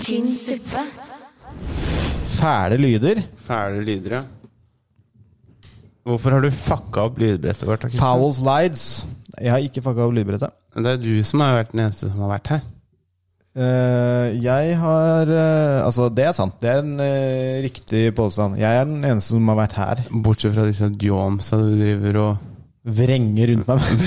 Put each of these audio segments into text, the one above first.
Tynn suppe. Fæle lyder. Fæle lyder, ja. Hvorfor har du fucka opp lydbrettet vårt? da, Kristian? Foul slides. Jeg har ikke fucka opp lydbrettet. Det er du som har vært den eneste som har vært her. Eh, jeg har eh, Altså, det er sant. Det er en eh, riktig påstand. Jeg er den eneste som har vært her. Bortsett fra disse jomsa du driver og Vrenger rundt meg.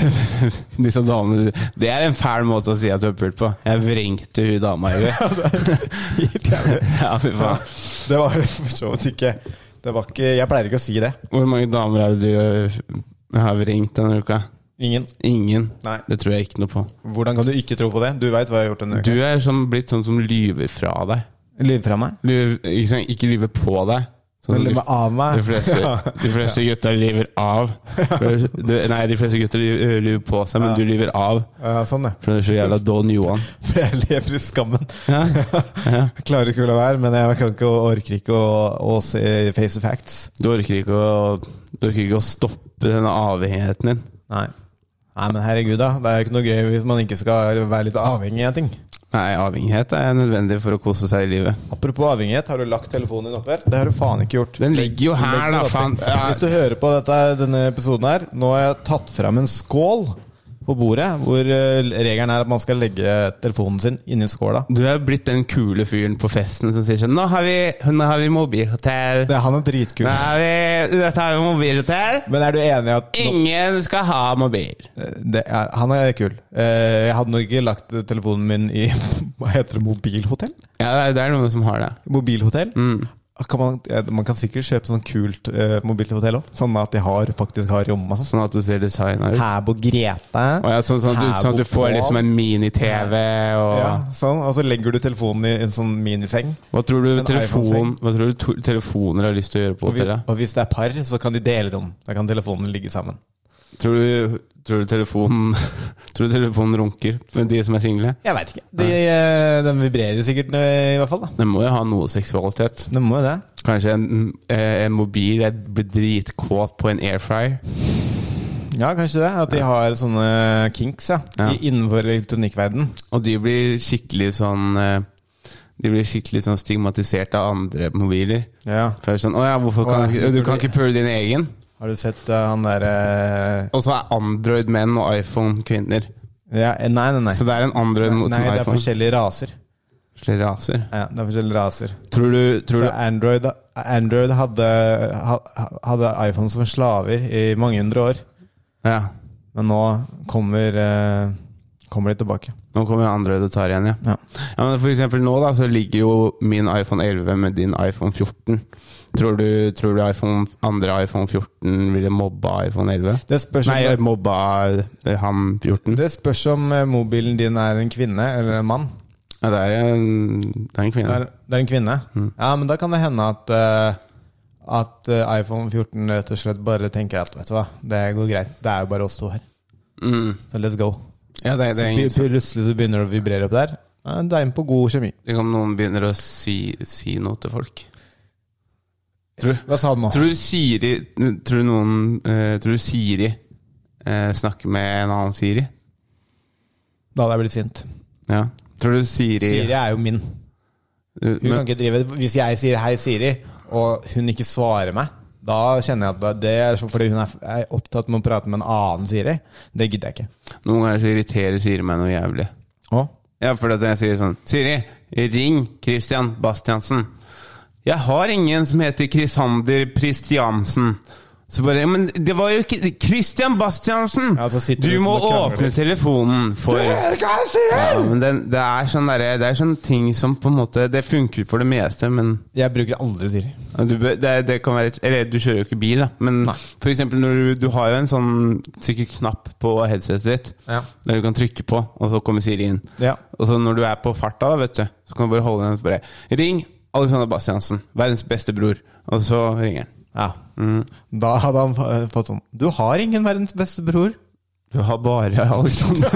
Disse damene du- Det er en fæl måte å si at du har pult på. Jeg vrengte hun dama i huet. ja, fy faen. Det var det for så vidt ikke. Det var ikke Jeg pleier ikke å si det. Hvor mange damer er det du har vrengt denne uka? Ingen. Ingen. Nei. Det tror jeg ikke noe på. Hvordan kan du ikke tro på det? Du veit hva jeg har gjort denne Du er som, blitt sånn som lyver fra deg. Lyver fra meg? Lyver, ikke, sant? ikke lyver på deg. Sånn som Eller de, med av de meg? fleste, de fleste gutta lyver av. Du, nei, de fleste gutta lyver, lyver på seg, men du lyver av. Ja, sånn, ja. For du er så jævla Don Johan. For jeg lever i skammen. Ja, ja. Jeg klarer ikke å la være, men jeg kan ikke, orker ikke å, å se face of facts. Du orker ikke å, du orker ikke å stoppe denne avhengigheten din. Nei. Nei, men herregud, da. Det er jo ikke noe gøy hvis man ikke skal være litt avhengig av ting. Nei, avhengighet er nødvendig for å kose seg i livet. Apropos avhengighet, har du lagt telefonen din oppe her? Det har du faen ikke gjort. Den ligger jo her, Legg den da, oppi. faen. Ja. Hvis du hører på dette, denne episoden her, nå har jeg tatt fram en skål på bordet, hvor eh, regelen er at man skal legge telefonen sin inni skåla. Du er blitt den kule fyren på festen som sier sånn Nå har vi, nå har vi mobilhotell. Det, han er dritkul. Nå har vi, dette har vi mobilhotell. Men er du enig i at nå, Ingen skal ha mobil. det er, Han er kul. Eh, Jeg hadde nok ikke lagt telefonen min i Hva heter det? Mobilhotell? Ja, det er- det er noen som har det. Mobilhotell? Mm. Kan man, eh, man kan sikkert kjøpe sånn kult eh, mobilhotell òg. Sånn at de har, faktisk har rom. Altså. Sånn at det ser designa ut. Hæbo Grete. Og ja, sånn, sånn, at du, sånn at du får liksom en mini-TV og Ja, sånn, og så legger du telefonen i en sånn miniseng. Hva tror du En iPhone-seng. telefon, hva tror du to, telefoner har lyst til å gjøre på Og, vi, hotellet? og hvis det er par, så kan de dele rom. Da kan telefonene ligge sammen. Tror du, tror du telefonen Tror du telefonen runker med de som er single? Jeg veit ikke. De, eh, den vibrerer sikkert, eh, i hvert fall. da Den må jo ha noe seksualitet. Det må jo det. Kanskje en, eh, en mobil Jeg blir dritkåt på en airfryer. Ja, kanskje det. At de har sånne kinks ja, Ja. I, innenfor elektronikkverden Og de blir skikkelig sånn eh, De blir skikkelig sånn stigmatisert av andre mobiler. Ja. For det er sånn, Å ja, hvorfor kan Å, du ja. ikke- Du kan ikke pule din egen? Har du sett eh, han eh, derre Og så er Android menn og iPhone kvinner. ja, eh, Nei, nei, nei. Så det er en Android mot Nei, en det er iPhone. forskjellige raser. Forskjellige raser. Ja, det er forskjellige raser. Tror du, tror Så du Android, Android hadde, ha- hadde iPhone som slaver i mange hundre år. Ja. Men nå kommer, eh, kommer de tilbake. Nå kommer Android og tar igjen, ja. Ja. ja men for eksempel nå da, så ligger jo min iPhone 11 med din iPhone 14. Tror du, tror du iPhone, andre iPhone 14 ville mobba iPhone 11? Det spørs om, Nei, mobba eh, han 14. det spørs om eh, mobilen din er en kvinne eller en mann. Ja, det er en, det er en Det kvinne. er, det er en kvinne. Mm. Ja, men da kan det hende at, eh, at eh, iPhone 14 rett og slett bare tenker at vet du hva, det går greit. Det er jo bare oss to her. Mm. Så let's go. Ja, det, det, er Pl- ingen, Plutselig så begynner det å vibrere opp der. Ja, Du er inne på god kjemi. Tenk om noen begynner å si, si noe til folk. Tror du? Hva sa du nå? Tror du Siri Tror du noen eh, Tror du Siri eh, snakker med en annen Siri? Da hadde jeg blitt sint. Ja. Tror du Siri, Siri er jo min. Eh, Hun kan men, ikke drive Hvis jeg sier 'hei, Siri', og hun ikke svarer meg, da kjenner jeg at det er så- fordi hun er f- er opptatt med å prate med en annen Siri. Det gidder jeg ikke. Noen ganger så irriterer Siri meg noe jævlig. Å? Ja, for at jeg sier sånn Siri, ring Christian Bastiansen. Jeg har ingen som heter Chrisander Pristiansen. Så bare, «Ja, Men det var jo ikke Christian Bastiansen! Ja, så sitter du du som må og krangler åpne litt. telefonen for ja, men det, det, er sånn derre- det er sånne ting som på en måte Det funker for det meste, men Jeg bruker aldri Siri. ja, Du, bør- det, det kan være, eller du kjører jo ikke bil, da, men Nei. for eksempel når du, du har jo en sånn sikkert knapp på headsetet ditt Ja. der du kan trykke på, og så kommer Siri inn. Ja. Og så når du er på farta, da, vet du, så kan du bare holde den og bare Ring Alexander Bastiansen, verdens beste bror. Og så ringer han. ja. Mm. Da hadde han fa- fått sånn Du har ingen verdens beste bror. Du har bare Alexander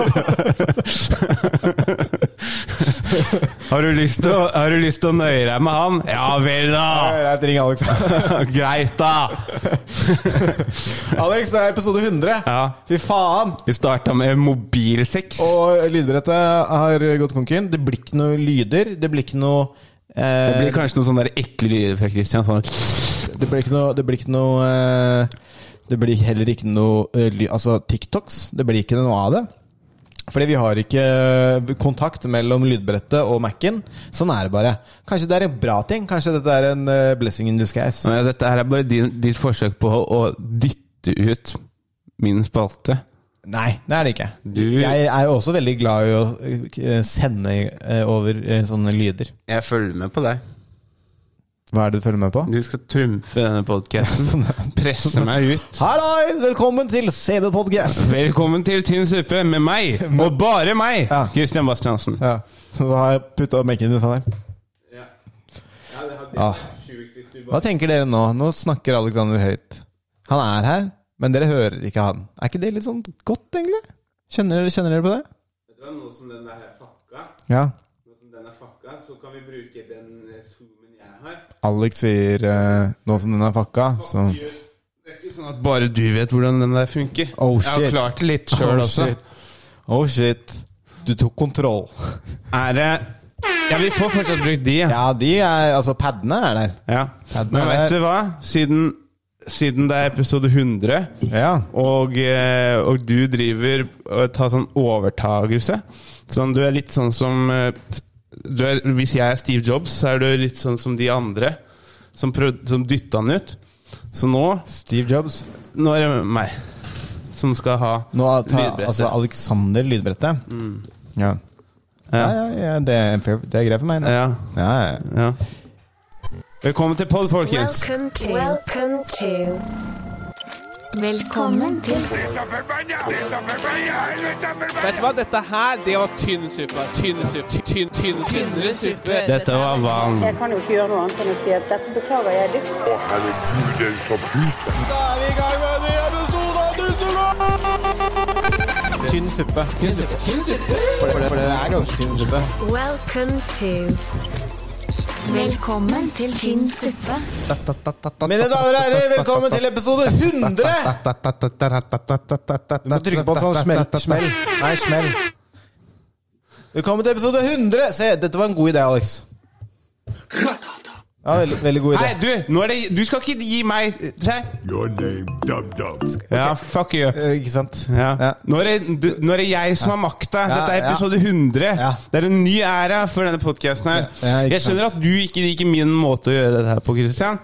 Har du lyst til å, har du lyst til å nøye deg med han? Ja vel, da! Greit, ring Alex. Greit, da! Alex, det er episode 100. Ja. Fy faen! Vi starta med mobilsex. Og lydbrettet har gått konken. Det blir ikke noe lyder. Det blir ikke noe eh, Det blir kanskje noen sånne der ekle lyder fra Christian. Sånn. Det blir ikke noe Det blir, ikke noe, eh, det blir heller ikke noe eh, ly- Altså TikToks. Det blir ikke noe av det. Fordi vi har ikke eh, kontakt mellom lydbrettet og Mac-en. Sånn er det bare. Kanskje det er en bra ting? Kanskje dette er en eh, blessing in disguise? Nei, Dette her er bare din, ditt forsøk på å, å dytte ut min spalte. Nei, det er det ikke. Du- Jeg er jo også veldig glad i å eh, sende eh, over eh, sånne lyder. Jeg følger med på deg. Hva er det du følger med på? Du skal trumfe denne podkasten. Presse meg ut. Halloi! Velkommen til CB Podcast! Velkommen til Tynn suppe med meg, og bare meg, Ja. Christian Bastiansen. Ja, så da har jeg putta mekken i sånn her. Ja. Hva tenker dere nå? Nå snakker Alexander høyt. Han er her, men dere hører ikke han. Er ikke det litt sånn godt, egentlig? Kjenner dere, kjenner dere på det? Nå som den der er fucka, Ja. nå som den er fucka, så kan vi bruke den eh, zoomen jeg har. Alex sier eh, nå som den er fucka, så Det er ikke sånn at bare du vet hvordan den der funker. Oh, Jeg shit. har klart det litt sjøl Oh, også. shit. Oh shit. Du tok kontroll. Er det Ja, vi får fortsatt brukt de. Ja. Ja, de er Altså, padene er der. ja. Ja, den Men er- vet du hva? Siden, siden det er episode 100 Ja. og, eh, og du driver og tar sånn overtagelse. Sånn, du er litt sånn som eh, du er, Hvis jeg er Steve Jobs, så er du litt sånn som de andre som, prøvde, som dytta han ut. Så nå, Steve Jobs. nå er det meg som skal ha Nå tar lydbrettet. altså Alexander lydbrettet. Ja. Mm. Ja, ja. ja, ja det, er fair, det er greit for meg. Det. Ja, Ja, ja. ja. Velkommen til pod, folkens. Welcome to. Welcome to. Velkommen til Vet du hva, dette her, det var tynn suppe. Tynn suppe. Tynn, tynn, tynnere suppe. Dette var vann. Jeg kan jo ikke gjøre noe annet enn å si at dette beklager jeg dypt. Å, herregud, det er jo så pysen. Da er vi i gang med en ny episode av Dusselov! Tynn suppe. Tynn suppe. For, det, for det er ganske tynn suppe. Welcome to. Velkommen til tynn suppe. Mine damer og herrer, velkommen til episode 100! Du må trykke på sånn smell. smell. Nei, smell. Velkommen til episode 100! Se, dette var en god idé, Alex. Ja, veldig, veldig god idé. Nei, du! Nå er det, du skal ikke gi meg Tre. Your name, dub-dub. Ja, fuck you. Eh, Ikke sant? Ja. Ja. Nå, er det, du, nå er det jeg som har makta. Ja, Dette er ja. episode 100. Ja. Det er en ny æra for denne podkasten her. Ja, ikke jeg skjønner at du ikke liker min måte å gjøre dette her på, Christian.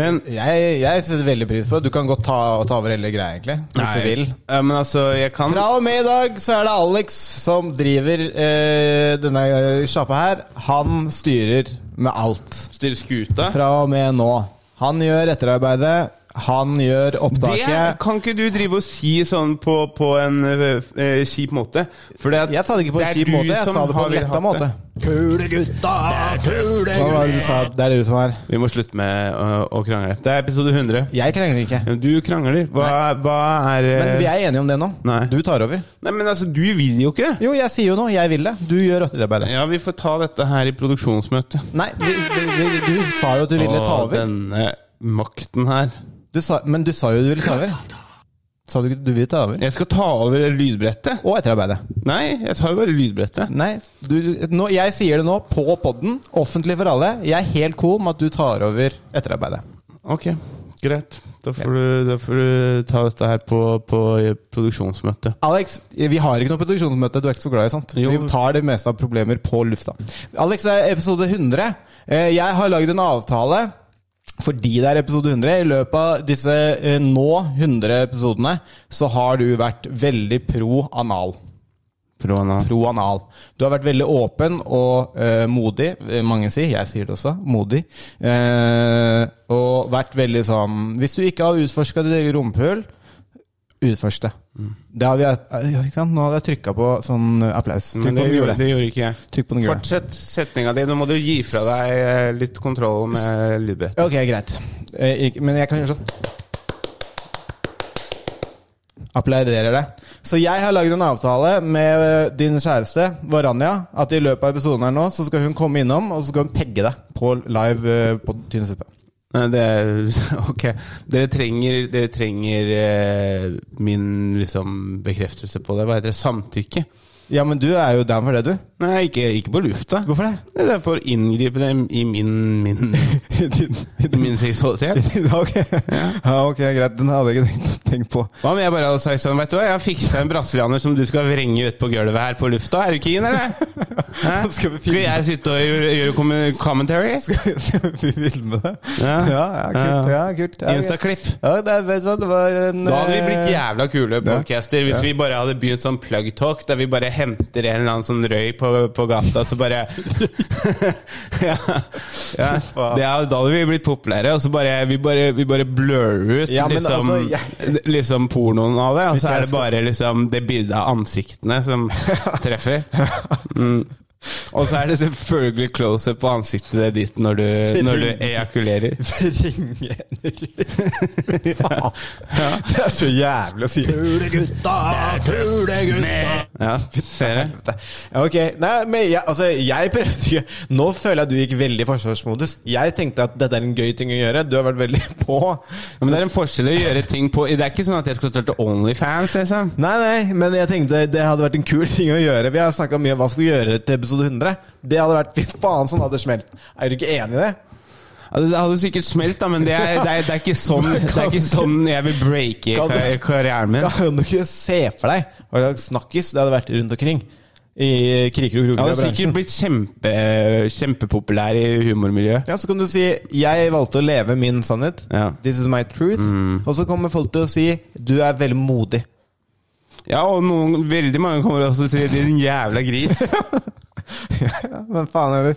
Men Jeg, jeg setter veldig pris på det. Du kan godt ta, ta over hele greia, egentlig. Hvis du vil. Ja, men altså, jeg kan Fra og med i dag så er det Alex som driver eh, denne eh, sjappa her. Han styrer med alt. stille skuta. Fra og med nå. Han gjør etterarbeidet. Han gjør Det opptaket. kan ikke du drive og si sånn på, på en eh, eh, kjip måte. For det, at- Jeg sa det ikke på en er kjip du måte, jeg som sa det på har en letta hatt måte. det. Kule gutta, kule Hva var det du sa? Det er det du som er. Vi må slutte med å, å krangle. Det er episode 100. Jeg krangler ikke. Du krangler. Hva, hva er eh, Men vi er enige om det nå. Nei. Du tar over. Nei, men altså, du vil jo ikke det. Jo, jeg sier jo noe. Jeg vil det. Du gjør etterarbeidet. Ja, vi får ta dette her i produksjonsmøtet. Nei, du, du, du, du sa jo at du ville ta Og over. denne makten her. Du sa, men du sa jo du ville ta over. Sa du ikke du ville ta over? Jeg skal ta over lydbrettet. Og etterarbeidet. Nei, jeg tar jo bare lydbrettet. Nei, du, nå, jeg sier det nå på podden, offentlig for alle. Jeg er helt cool med at du tar over etterarbeidet. Ok, greit. Da får, du, da får du ta dette her på, på produksjonsmøtet. Alex, vi har ikke noe produksjonsmøte, du er ikke så glad i sånt. Jo. Vi tar det meste av problemer på lufta. Alex, det er episode 100. Eh, Jeg har lagd en avtale fordi det er episode 100. I løpet av disse eh, nå 100 episodene så har du vært veldig pro anal. Prona. pro anal. Du har vært veldig åpen og eh, modig, eh, mange sier, jeg sier det også, modig. Eh, og vært veldig sånn Hvis du ikke har utforska ditt eget rumpehull, utforsk det. Mm. Det har vi eh, ja, ikke sant? Nå hadde jeg trykka på sånn eh, applaus. Trykk Men på det den gjorde, gule. det gjorde ikke jeg. Trykk på den gule. Fortsett setninga di. Nå må du gi fra deg eh, litt kontroll med lydbrettet. Ok, greit. Eh, ikke, men jeg kan gjøre sånn. Applauderer det. Så jeg har lagd en avtale med eh, din kjæreste, Varanja, at i løpet av episoden her nå, så skal hun komme innom, og så skal hun pegge deg på live eh, på Tynn suppe. Nei, Det er, ok. Dere trenger, dere trenger eh, min liksom, bekreftelse på det. Hva heter det? Samtykke? Ja, men du er jo down for det, du. Nei, ikke, ikke på lufta. Hvorfor det? Det er for inngripende i min, min, min seksualitet. Ja, ok, ja, ok, greit. Den hadde jeg ikke tenkt, tenkt på. Hva om jeg bare hadde sagt sånn, vet du hva, jeg har fiksa en brasilianer som du skal vrenge ut på gulvet her på lufta, er du keen, eller? Hæ? Skal vi filme? Skal jeg sitte og gjøre, gjøre kommen- commentary? Skal skal vi filme det? Ja. ja, ja kult. Ja, kult. Ja, Insta-klipp. Ja, det, er- vet du hva, det var en Da hadde vi blitt eh, jævla kule podcaster hvis Ja. vi bare hadde begynt sånn plug talk, der vi bare henter en eller annen sånn røy på, på gata, så bare ja. ja. faen. Det er, da hadde vi blitt populære, og så bare Vi bare, vi bare blurrer ut Ja, men liksom, altså, liksom pornoen av det, og Hvis så jeg er det skal- bare liksom det bildet av ansiktene som treffer. Mm. Og så er det selvfølgelig close-up på ansiktet ditt når du, når du ejakulerer. Ringe Henrik. Faen. Det er så jævlig å si. Kule gutta, kule gutta. Ja, ser jeg. Ok, nei, men jeg, altså, jeg prøvde ikke Nå føler jeg at du gikk veldig i forsvarsmodus. Jeg tenkte at dette er en gøy ting å gjøre. Du har vært veldig på. Ja, men det er en forskjell å gjøre ting på Det er ikke sånn at jeg skal starte Onlyfans, liksom. Nei, nei, men jeg tenkte det hadde vært en kul ting å gjøre. Vi har snakka mye om hva skal vi gjøre til episode 100. Det hadde vært Fy faen, sånn hadde det smelt. Er du ikke enig i det? Altså, det hadde sikkert smelt, da, men det er, det er, det er, ikke, sånn, det er ikke sånn jeg vil breake Kan- kar- karrieren min. Kan du ikke se for deg hva slags snakkis det hadde vært rundt omkring? I kriker og kroker Jeg av hadde sikkert bransjen. blitt kjempe, kjempepopulær i humormiljøet. Ja, Så kan du si 'jeg valgte å leve min sannhet'. Ja. Mm. 'This is my truth'. Og så kommer folk til å si 'du er veldig modig'. Ja, og noen, veldig mange kommer også til å si 'din jævla gris'. Ja, men faen heller.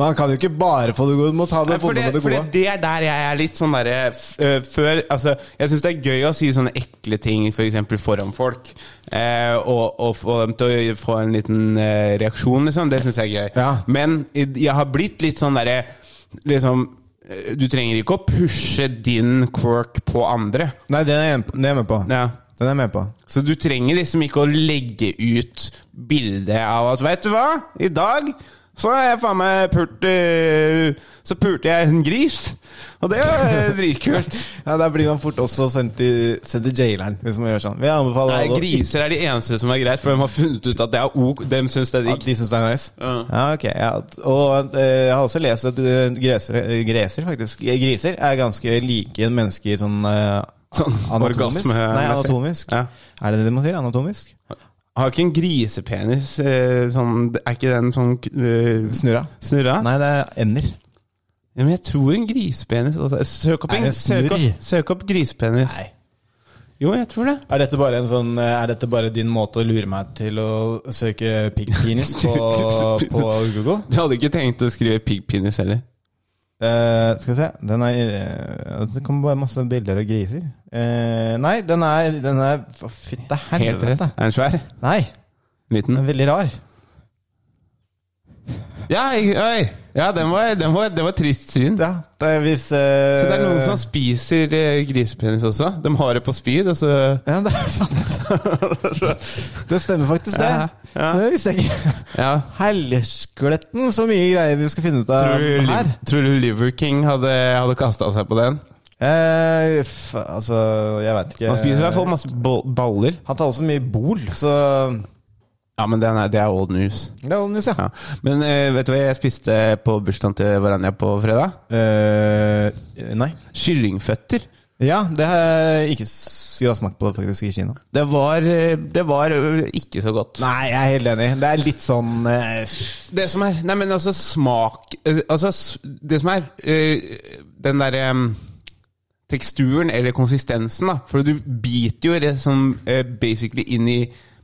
Man kan jo ikke bare få det gode, du må ta Nei, det for vonde det, med det for det, gode. det er der jeg er litt sånn derre f- øh, Før Altså, jeg syns det er gøy å si sånne ekle ting f.eks. For eksempel foran folk. Eh, og, og få dem til å få en liten eh, reaksjon, liksom. Det syns jeg er gøy. Ja. Men i- jeg har blitt litt sånn derre Liksom eh, Du trenger ikke å pushe din quirk på andre. Nei, den er jeg med- den er jeg med på. Ja. Den er jeg med på. Så du trenger liksom ikke å legge ut bilde av at Vet du hva? I dag så har jeg faen meg pult øh, Så pulte jeg en gris. Og det er øh, dritkult. Ja, Der blir man fort også sendt til, sendt til jaileren, hvis man gjør sånn. Vi anbefaler Nei, alle å- griser er de eneste som er greit, for de har funnet ut at det er ok. De syns det er At digg. de syns det er nice? Ja. Ja, ok. Ja. Og eh, jeg har også lest at eh, greser, eh, greser, faktisk, eh, griser er ganske like mennesker sånn, eh, Sånn anatomisk. orgasme- Nei, anatomisk. Ja. Er det det man sier? Anatomisk? Har ikke en grisepenis øh, sånn Er ikke den sånn øh, Snurra? snurra? Nei, det er ender. Ja, men jeg tror en grisepenis altså, Søk opp Er en det snurr? søk opp, søk opp grisepenis. Nei. Jo, jeg tror det. Er dette bare, en sånn, eh, er dette bare din måte å lure meg til å søke pig penis på, på Google? Du hadde ikke tenkt å skrive piggpenis heller? Eh, skal vi se den er, eh, Det kommer bare masse bilder av griser. Eh, nei, den er, den er Fytte Helt rett. helvete. Er den svær? Nei, Liten? den er veldig rar. Ja, jeg- oi. ja den var, den var, det var trist syn. Ja, det er hvis eh, Så det er noen som spiser eh, grisepenis også? De har det på spyd, og så Ja, det er sant. det stemmer faktisk, det. Ja, ja. Det visste jeg ikke. Ja. Helskletten, så mye greier vi skal finne ut av Tror du, Eh, her. Liv- tror du Liver King hadde, hadde kasta seg på den? Eh, f altså, jeg veit ikke. Han spiser i hvert fall masse bo- baller. Han tar også mye bol, så Ja, men den er, det er old news. Det er old news, ja. Ja. Men eh, vet du hva jeg spiste på bursdagen til Varanja på fredag? Eh, nei. Kyllingføtter. Ja, det har jeg ikke skulle ha smakt på det faktisk i Kina. Det var, eh, det var eh, ikke så godt. Nei, jeg er helt enig. Det er litt sånn eh, Det som er Nei, men altså, smak eh, Altså, s- det som er eh, Den derre teksturen eller konsistensen, da. For du biter jo det som eh, basically inn i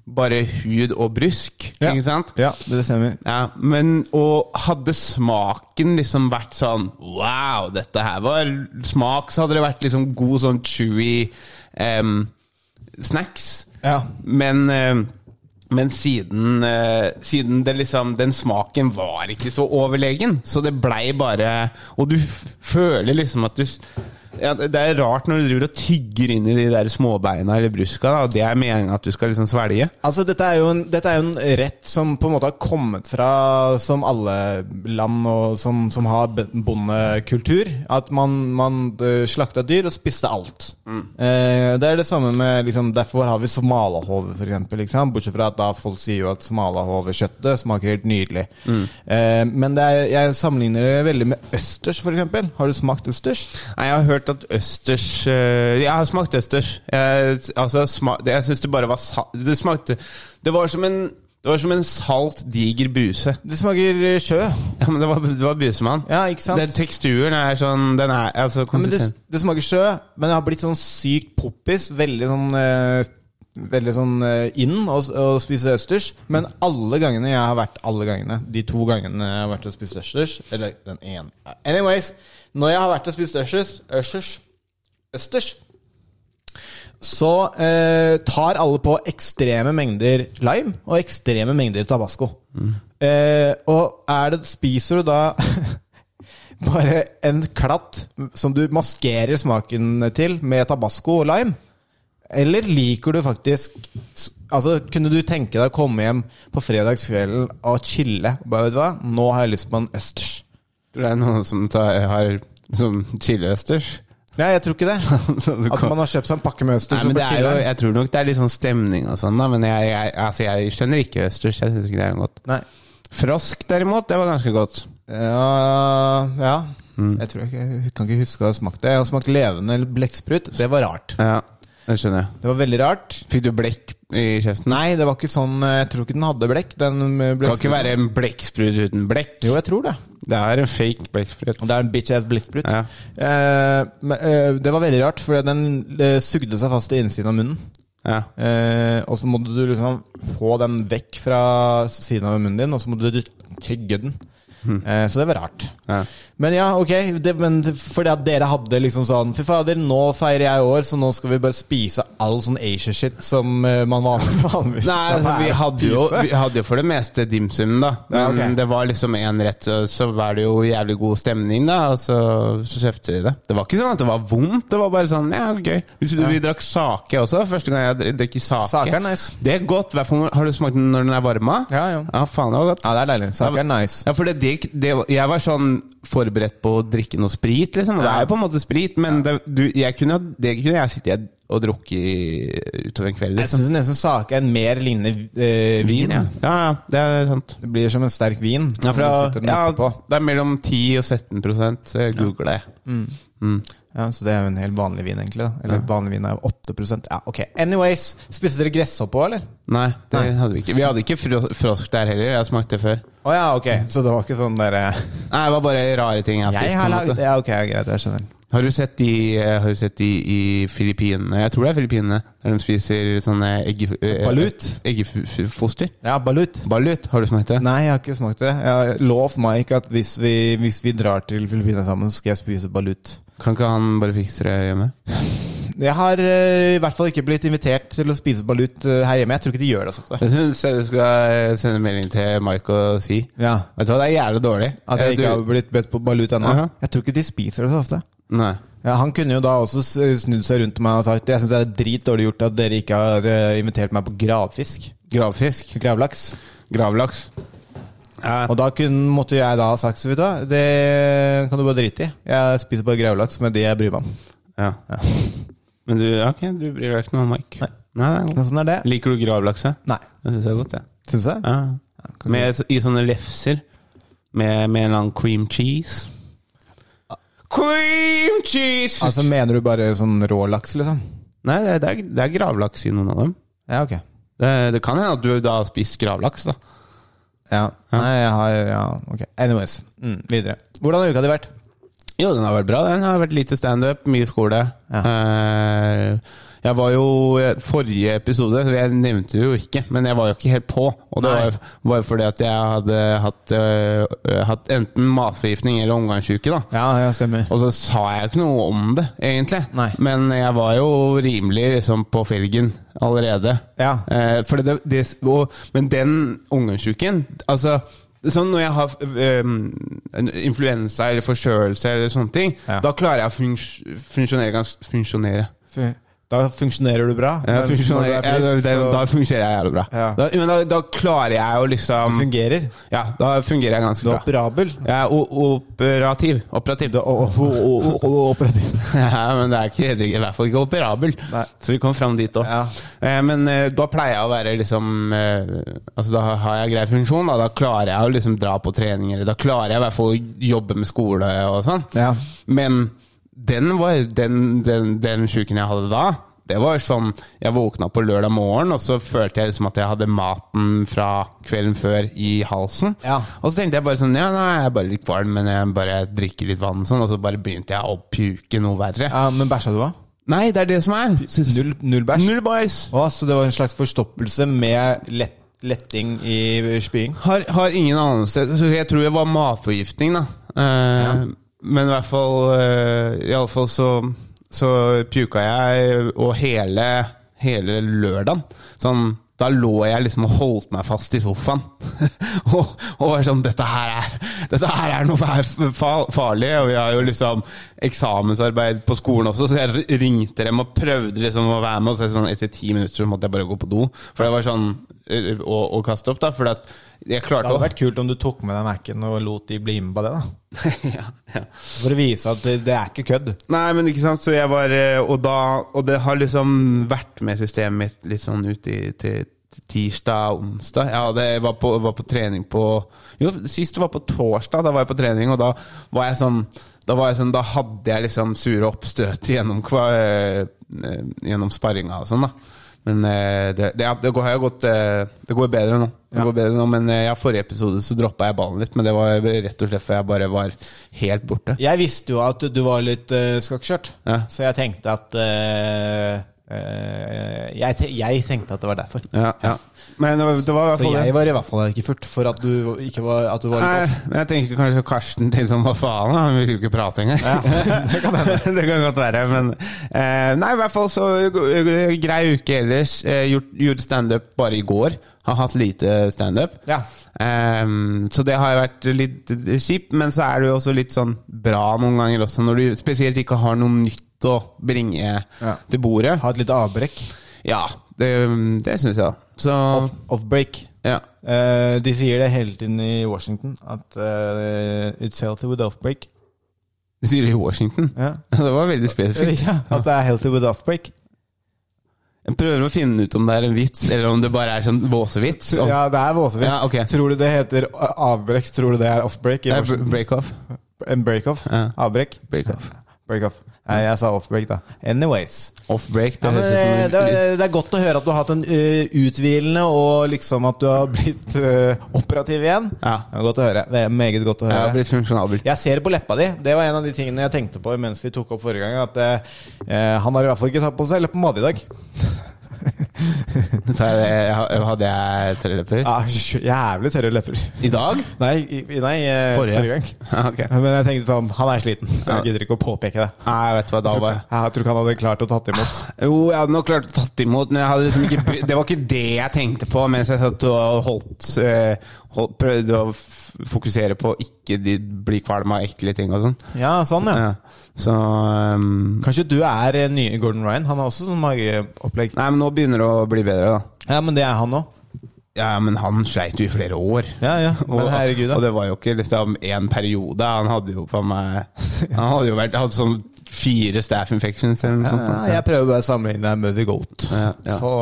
bare hud og brysk, Ja. ikke sant? Ja, det stemmer. Ja, men og hadde smaken liksom vært sånn Wow, dette her var smak, så hadde det vært liksom god sånn chewy em, snacks. Ja. Men, em, men siden, eh, siden det liksom, den smaken var ikke så overlegen, så det blei bare Og du f- føler liksom at du s- ja, det det er rart når du driver og tygger inn i de der småbeina eller bruska, da, og det er meningen at du skal liksom svelge. Altså, dette er, jo en, dette er jo en rett som på en måte har kommet fra som alle land og som, som har b- bondekultur. At man, man eh, slakta dyr og spiste alt. Eh, det er det samme med liksom, Derfor har vi smalahove, for eksempel. Ikke sant? Bortsett fra at da folk sier jo at smalahove-kjøttet smaker helt nydelig. Eh, men det er, jeg sammenligner det veldig med østers, for eksempel. Har du smakt østers? Nei, jeg har hørt at østers øh, Jeg har smakt østers. Jeg, altså, sma, det, jeg syns det bare var salt Det smakte Det var som en, det var som en salt, diger buse. Det smaker eh, sjø. Ja, men det var, det var busemann. Ja, ikke sant? Den teksturen er sånn Den er altså Ja, men det, konsistent. det smaker sjø, men det har blitt sånn sykt poppis. Veldig sånn eh, Veldig sånn eh, inn å, å spise østers. Men alle gangene jeg har vært Alle gangene De to gangene jeg har vært og spist østers Eller den ene Anyways, når jeg har vært og spist østers Østers Østers Så eh, tar alle på ekstreme mengder lime Og ekstreme mengder tabasco eh, Og er det, spiser du da bare en klatt som du maskerer smaken til med tabasco og lime? Eller liker du faktisk Altså, Kunne du tenke deg å komme hjem på fredagskvelden og chille? Bare vet du hva, Nå har jeg lyst på en østers. Tror det er noen som tar, har som chiliøsters. Nei, jeg tror ikke det. At man har kjøpt seg en pakke med østers. Nei, men og det bare er jo, chiller. jeg tror nok det er litt sånn stemning og sånn, da. Men jeg, jeg, altså, jeg skjønner ikke østers. Jeg syns ikke det er godt. Nei. Frosk, derimot, det var ganske godt. Ja, ja. Mm. Jeg tror ikke, jeg kan ikke huske å ha smakt det. Jeg har smakt levende eller blekksprut. Det var rart. Ja, det skjønner jeg. Det var veldig rart. Fikk du blekk i kjeften? Nei, det var ikke sånn Jeg tror ikke den hadde blekk. Den Det kan ikke være en blekksprut uten blekk. Jo, jeg tror det. Det er en fake blekksprut. Og Det er en bitch ass blittsprut. Ja. Eh, men, eh, det var veldig rart, for den eh, sugde seg fast i innsiden av munnen. Ja. Eh, og så måtte du liksom få den vekk fra siden av munnen din, og så måtte du tygge den. Eh, så det var rart. Hm. Ja. Men ja, ok, det, men fordi at dere hadde liksom sånn Fy fader, nå feirer jeg år, så nå skal vi bare spise all sånn Asia-shit som eh, man van- vanligvis Nei, altså, vi, hadde jo, vi hadde jo for det meste dimsum, da. Men Ja, ok. det var liksom én rett, og så var det jo jævlig god stemning, da. Og så, så kjøpte vi det. Det var ikke sånn at det var vondt, det var bare sånn ja, gøy. Vi, vi drakk sake også. Første gang jeg drikker sake. Sake er nice. Det er godt. i hvert fall- Har du smakt den når den er varma? Ja, ja. ja faen, det var godt. Ja, det er deilig. Saker er nice. Ja, for det, det, det, jeg var sånn forberedt på å drikke noe sprit, liksom. Og det er jo på en måte sprit, men det, du, jeg kunne, det kunne jeg sitte og drukke i- utover en kveld, Jeg liksom. syns nesten sake er mer lignende eh, vin. Ja, ja, ja det er sant. Det blir som en sterk vin. Ja, som fra, du sitter den ja, oppe på. det er mellom 10 og 17 prosent. så Jeg googler det. ja, Så det er jo en helt vanlig vin, egentlig. Da. Eller vanlig vin er jo 8 Ja, ok. Anyways, spiste dere gresshoppe òg, eller? Nei, det Nei. hadde vi ikke. Vi hadde ikke fro frosk der heller. Jeg har smakt det før. Å ja, ok. Så det var ikke sånn derre Nei, det var bare rare ting jeg har Jeg spist. har på en lagd måte. Ja, ok, greit. Jeg skjønner. Har du sett de, eh, har du sett de i Filippinene? Jeg tror det er Filippinene. Der de spiser sånne egge, eh, Balut? eggefoster. Ja, balut. Balut, har du smakt det? Nei, jeg har ikke smakt det. Jeg lov meg ikke at hvis vi, hvis vi drar til Filippinene sammen, så skal jeg spise balut. Kan ikke han bare fikse det hjemme? Jeg har eh, i hvert fall ikke blitt invitert til å spise balut eh, her hjemme. Jeg tror ikke de gjør det så ofte. Jeg syns du skal eh, sende melding til Mike og si. Ja. Vet du hva, det er jævlig dårlig. At jeg Eh, du- ikke har blitt bedt på balut ennå. Aha. Jeg tror ikke de spiser det så ofte. Nei. Ja, Han kunne jo da også s- snudd seg rundt meg og sagt Jeg synes det er dritdårlig gjort at dere ikke har eh, invitert meg på gravfisk. Gravfisk. Gravlaks. Gravlaks. Ja. Og da kunne, måtte jeg da ha sagt så vidt da, det kan du bare drite i. Jeg spiser bare gravlaks med det jeg bryr meg om. Ja. Men du, ja, ok, du bryr deg ikke noe om Mike? Nei. det er Men godt. sånn er det. Liker du gravlaks? ja? Nei. Det syns jeg er godt, jeg. Syns jeg? Ja. Med, så- I sånne lefser. Med, med en lang cream cheese. Cream cheese! Altså Mener du bare sånn rå laks, liksom? Nei, det er, det, er, det er gravlaks i noen av dem. Ja, ok. Det, det kan hende at du da har spist gravlaks, da. Ja. Nei, jeg har Ja, ok. Anyways. Mm, videre. Hvordan har uka di vært? Jo, den har vært bra. Den har vært lite standup, mye skole. Ja. Eh, jeg var jo eh, Forrige episode, jeg nevnte det jo ikke, men jeg var jo ikke helt på. Og det Nei. var jo- var jo fordi at jeg hadde hatt, eh, hatt enten matforgiftning eller omgangssyke. da. Ja, ja, stemmer. Og så sa jeg jo ikke noe om det, egentlig. Nei. Men jeg var jo rimelig liksom, på felgen allerede. Ja. Eh, for det, det, og, men den omgangssyken altså, Sånn når jeg har øhm, en influensa eller forkjølelse eller sånne ting, Ja. da klarer jeg å funks- funksjonere ganske Funksjonere. F- Da funksjonerer du bra. Ja, mens når funksjonerer du ja, er da, frisk, da- så- da fungerer jeg jævlig bra. Ja. Da, men da, da klarer jeg å du liksom fungerer. Ja, da fungerer jeg ganske Du er bra. operabel. Jeg er o- operativ. Operativ. Du er o- o- o- o- operativ. ja, men det er ikke, det er i hvert fall ikke operabel. Nei. Så vi kom fram dit òg. Ja. Eh, men eh, da pleier jeg å være liksom eh, Altså Da har jeg grei funksjon, da, da klarer jeg å liksom dra på trening, eller da klarer jeg i hvert fall å jobbe med skole og sånn. Ja. Men den, var, den, den, den sjuken jeg hadde da det var sånn, Jeg våkna på lørdag morgen, og så følte jeg liksom at jeg hadde maten fra kvelden før i halsen. Ja. Og så tenkte jeg bare sånn Ja, nei, jeg er bare litt kvalm, men jeg bare drikker litt vann, og sånn. Og så bare begynte jeg å puke noe verre. Ja, men bæsja du, da? Nei, det er det som er. Null, null bæsj? Null bæsj. Å, så det var en slags forstoppelse med lett, letting i spying? Har, har ingen anelse. Så Jeg tror det var matforgiftning, da. Eh, Men i hvert fall eh, i alle fall så, så pjuka jeg, og hele, hele lørdagen sånn, Da lå jeg liksom og holdt meg fast i sofaen. og, og var sånn Dette her er, dette her er noe fa- fa- farlig. Og vi har jo liksom eksamensarbeid på skolen også, så jeg ringte dem og prøvde liksom å være med. Og så er det sånn, etter ti minutter så måtte jeg bare gå på do. For det var sånn eh, å, å kaste opp, da. For at jeg Det klarte hadde å vært kult om du tok med deg Mac-en og lot de bli med på det. da ja, ja. For å vise at det, det er ikke kødd. Nei, men ikke sant, så jeg var eh, Og, da, og det har liksom vært med systemet mitt litt sånn ut i, til til tirsdag, onsdag Jeg hadde, var, på, var på trening på Jo, sist var på torsdag, da var jeg på trening, og da var jeg sånn Da, var jeg sånn, da hadde jeg liksom sure oppstøt gjennom, kva, eh, eh, gjennom sparringa og sånn, da. Men eh, det, det, det, går, har jo gått, eh, det går bedre nå. Det går bedre nå Men eh, ja, forrige episode så droppa jeg ballen litt, men det var rett og slett fordi jeg bare var helt borte. Jeg visste jo at du var litt uh, skakkskjørt, Ja. så jeg tenkte at eh, eh, jeg, te jeg tenkte at det var derfor. Ja, ja. Men det var, det var i hvert Så fall jeg det. var i hvert fall ikke furt for at du ikke var, at du var Nei, litt off. men jeg tenker kanskje Karsten til som hva faen, han vil jo ikke prate engang. det, kan godt være, men eh, Nei, i hvert fall så eh, grei uke ellers. Eh, gjort, gjorde standup bare i går. Har hatt lite standup. Ja. Ehm, så det har jo vært litt kjipt, men så er det jo også litt sånn bra noen ganger også, når du spesielt ikke har noe nytt å bringe Ja. til bordet. Ha et lite avbrekk. Ja, det, det syns jeg, da. Så Off- Off-break. ja. Eh, de sier det hele tiden i Washington, at eh, it's healthy with off-break. Du sier det i Washington? Ja. Det var veldig spesifikt. ja, at det er healthy with off-break. Jeg prøver å finne ut om det er en vits, eller om det bare er sånn våsevits. Om, Ja, det er våsevis. Ja, ok. Tror du det heter eh, avbrekk? Tror du det er off-break? i Nei, Washington? br- break off. En break-off? Ja. Avbrekk? Break off. Break-off. Nei, jeg sa off-break, da. Anyways. Off break, det Ja, men, høres eh, ut det, som er- det er godt å høre at du har hatt en eh, uthvilende, og liksom at du har blitt eh, operativ igjen. Ja. Det er godt å høre. Det er meget godt å Jeg har høre. blitt funksjonabel. Jeg ser det på leppa di. Det var en av de tingene jeg tenkte på mens vi tok opp forrige gang. At eh, han har i hvert fall ikke tatt på seg leppepomade i dag. Så er det- jeg- Hadde jeg treløper? Ja, jævlig tørre lepper. I dag? Nei, i, i- nei eh, forrige. gang. Ja, ok. Men jeg tenkte sånn, han er sliten, så Ja. jeg gidder ikke å påpeke det. Nei, vet du hva, da Jeg tror, var ikke- jeg tror ikke han hadde klart å tatt imot. Jo, jeg hadde nok klart å tatt imot, men jeg hadde liksom ikke, bry- det var ikke det jeg tenkte på mens jeg satt og holdt, eh, holdt prøvde å f- fokusere på å ikke de- bli kvalm av ekle ting og sånn. Ja, sånn, ja. Ja. Så ehm, Kanskje du er eh, nye Gordon Ryan? Han har også sånn mageopplegg. Nei, men nå begynner det å bli bedre, da. Ja, men det er han òg. Ja, men han sleit jo i flere år. Ja, ja. Og, Men herregud, og da. det var jo ikke liksom én periode. Han hadde jo faen meg Han hadde jo vært hatt sånn fire staff infections eller noe sånt. Ja, jeg prøver bare å sammenligne deg med The Goat. Ja, ja. Så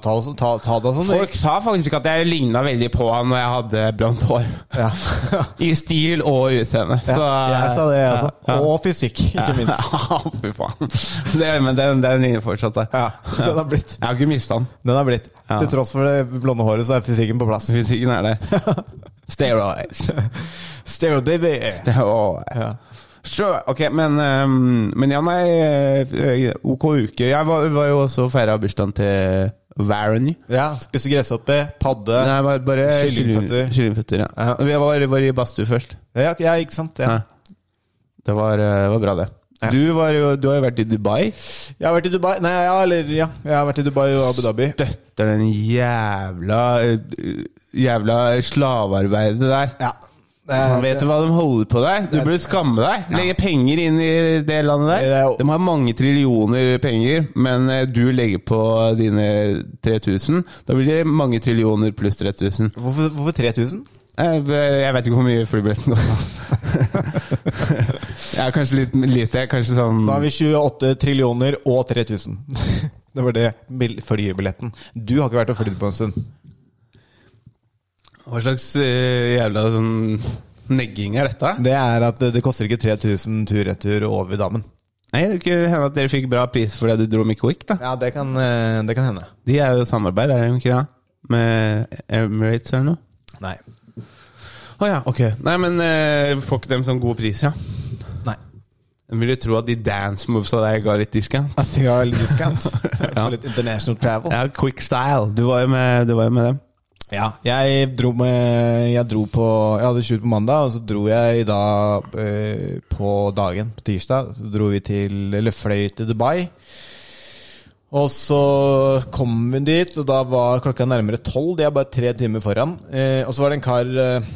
ta, det som- ta, ta det som Folk sa faktisk at jeg ligna veldig på han når jeg hadde blondt hår. Ja. I stil og utseende. Så, jeg sa det, jeg også. Og fysikk, ikke minst. minst. Fy faen. Det, men den, den ligner fortsatt der. Ja, den har blitt. Jeg har ikke mista den. Den har blitt. Ja. Til tross for det blonde håret, så er fysikken på plass. Fysikken er der. Steroids. Stereo baby! Steroids. Ja. Sure, ok, men, ehm, men ja, nei, eh, ok uke. Jeg var, var jo også og feira bursdagen til Varen. ja Spise gresshoppe, padde Nei, bare, bare Kyllingføtter. kylling- Kyllingføtter, ja. Vi var, var i badstue først. Ja, ja, ikke sant? Ja. Ja. Det var, eh, var bra, det. Du, var jo, du har jo vært i Dubai. Jeg har vært i Dubai Nei, ja, eller ja. Jeg har vært i Dubai og Abu Dhabi. Støtter den jævla eh, Jævla slavearbeidet der. Ja. Eh, Vet du hva de holder på der? Du burde skamme deg. Legge penger inn i det landet Det der. er jo- De har mange trillioner penger, men eh, du legger på dine 3000. Da blir det mange trillioner pluss 3000. Hvorfor, hvorfor 3000? Jeg, Eh, jeg vet ikke hvor mye flybilletten kosta. jeg er kanskje litt lite. Jeg er kanskje sånn Da har vi 28 trillioner og 3000. Det var det bil- flybilletten. Du har ikke vært og flydd på en stund. Hva slags eh, jævla sånn negging er dette? Det er at det, det koster ikke 3000 tur-retur over dammen. Nei, Det kan hende at dere fikk bra pris fordi du dro med Quick. da Ja, det kan, eh, det kan hende. De er jo samarbeid, er de ikke det? Med Emirates eller noe? Nei. Å ja, ok. Nei, men eh, får ikke dem sånn gode priser, ja? Nei. Jeg ville tro at de dance moves av deg ga litt discount. At de har litt discount. Ja. Litt international travel. Ja, quick style. Du var jo med, du var jo med dem. Ja, jeg dro med Jeg dro på Jeg hadde shoot på mandag, og så dro jeg da eh, på dagen, på tirsdag. Så dro vi til Eller fløy til Dubai. Og så kom vi dit, og da var klokka nærmere tolv. De er bare tre timer foran. Eh, og så var det en kar eh,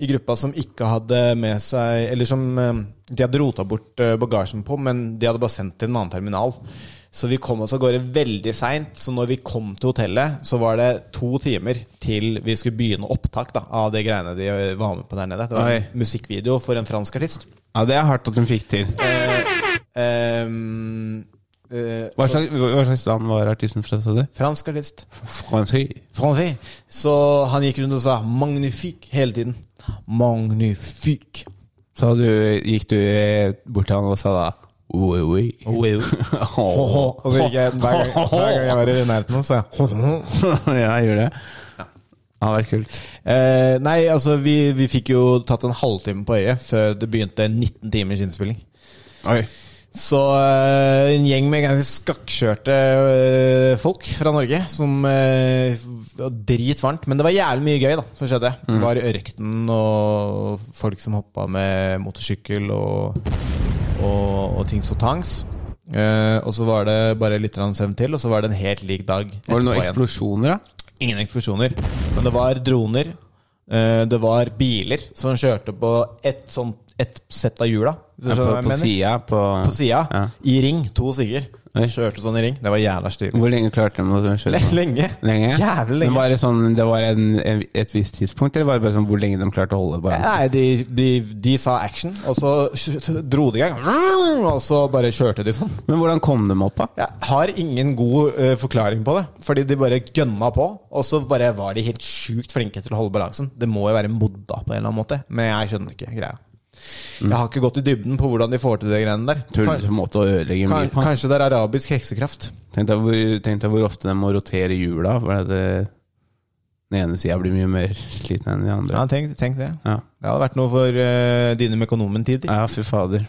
i gruppa som ikke hadde med seg Eller som eh, de hadde rota bort eh, bagasjen på, men de hadde bare sendt til en annen terminal. Så vi kom oss av gårde veldig seint. Så når vi kom til hotellet, så var det to timer til vi skulle begynne opptak da, av det greiene de eh, var med på der nede. Det var Oi. en musikkvideo for en fransk artist. Ja, det er hardt at de fikk til. Ehm, eh, Hva så- slags, hva slags land var artisten fra, sa du? fransk artist. Fransk. Fransé. Så han gikk rundt og sa 'magnifique' hele tiden. Magnifique. Så du, gikk du eh, bort til han og sa da Oi, oi. Oui, oui. Ho-ho. Og så gikk jeg hver gang, hver gang jeg var i nærheten hans, sa jeg ho-ho. ja, jeg gjorde det. Ja, det var kult. Eh, nei, altså, vi, vi fikk jo tatt en halvtime på øyet før det begynte 19 timers innspilling. Oi. Så eh, en gjeng med ganske skakkskjørte eh, folk fra Norge som eh, var dritvarmt. Men det var jævlig mye gøy da, som skjedde. Mm. Det var i ørkenen og folk som hoppa med motorsykkel og, og, og ting så tangs. Eh, og så var det bare litt grann søvn til, og så var det en helt lik dag. Var det etterpå noen igjen. eksplosjoner, da? Ingen eksplosjoner, men det var droner. eh, Det var biler som kjørte på ett sånt ett sett av hjula. Hvis du Ja, på skjønner hva jeg på mener. sida? På, På sida. Ja. I ring. To stykker. Oi. Kjørte sånn i ring. Det var jævla stilig. Hvor lenge klarte de å kjøre sånn? Lenge. Lenge? Jævlig lenge. Men var det sånn, det var en, en, et visst tidspunkt, eller var det bare sånn hvor lenge de klarte å holde på? den? Nei, de, de, de sa action, og så kj- dro de i gang. Og så bare kjørte de sånn. Men hvordan kom de opp, da? Jeg har ingen god eh, forklaring på det. Fordi de bare gønna på, og så bare var de helt sjukt flinke til å holde balansen. Det må jo være modda på en eller annen måte, men jeg skjønner ikke greia. Mm. Jeg har ikke gått i dybden på hvordan de får til de greiene der. Tror du Kan, på en måte å ødelegge kan, mye på? kanskje det er arabisk heksekraft. Tenk deg, hvor, tenk deg hvor ofte de må rotere hjula. For at eh, den ene sida blir mye mer sliten enn den andre. Ja, tenk, tenk det. Ja, Det hadde vært noe for eh, dine Mekonomen-tider. ja fy fader.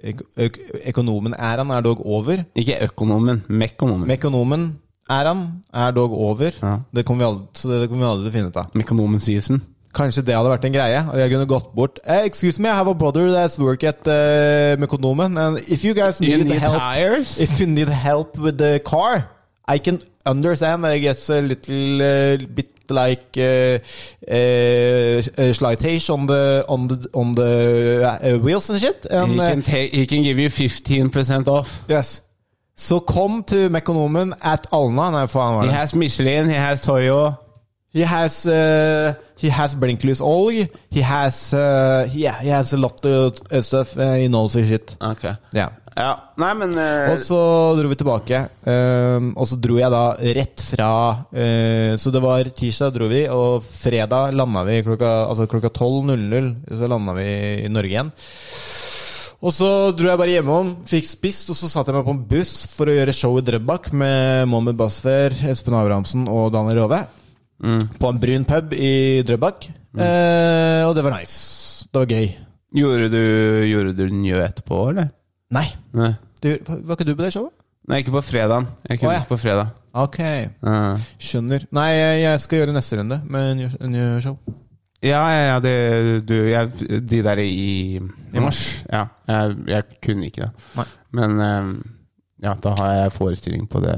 Ek øk- Ekonomen-æraen er dog over. Ikke økonomen, mekonomen. Mekonomen-æraen er dog over. Ja. Det kommer vi aldri, så det kommer vi aldri til å finne ut av. Mekonomen Season. Kanskje det hadde vært en greie, og jeg kunne gått bort eh, Excuse me, I have a brother that's work at eh, Mekonomen, and if you guys need, help tires? If you need help with the car I can understand I guess a little eh, bit like uh, slightage on the, on the, on the eh, wheels and shit He and, eh, can, ta- he can give you 15 off. Yes So come to Mekonomen at Alna Nei, faen var He det has Michelin, he has Toyo. He has uh, he has blinkless oil. He has uh, yeah he has a lot of uh, stuff. Uh, he knows his shit. Ok. Yeah. Ja, nei, men eh, Og så dro vi tilbake. Um, og så dro jeg da rett fra eh, Så det var tirsdag dro vi, og fredag landa vi klokka altså klokka 12.00. Så landa vi i Norge igjen. Og så dro jeg bare hjemom, fikk spist, og så satte jeg meg på en buss for å gjøre show i Drøbak med Mohammed Basfer, Espen Abrahamsen og Daniel Rove. På en brun pub i Drøbak. Eh, og det var nice. Det var gøy. Gjorde du, gjorde du njø etterpå, eller? Nei. Nei. Du, var ikke du på det showet? Nei, ikke på fredagen. Jeg kunne Å, ja. ikke på fredag. Ok. Ja. Skjønner. Nei, jeg jeg skal gjøre neste runde med en ny- en ny show. Ja, ja, ja, det, du, jeg, de der i, i mars Ja, jeg, jeg kunne ikke det. Nei. Men eh, ja, da har jeg forestilling på det,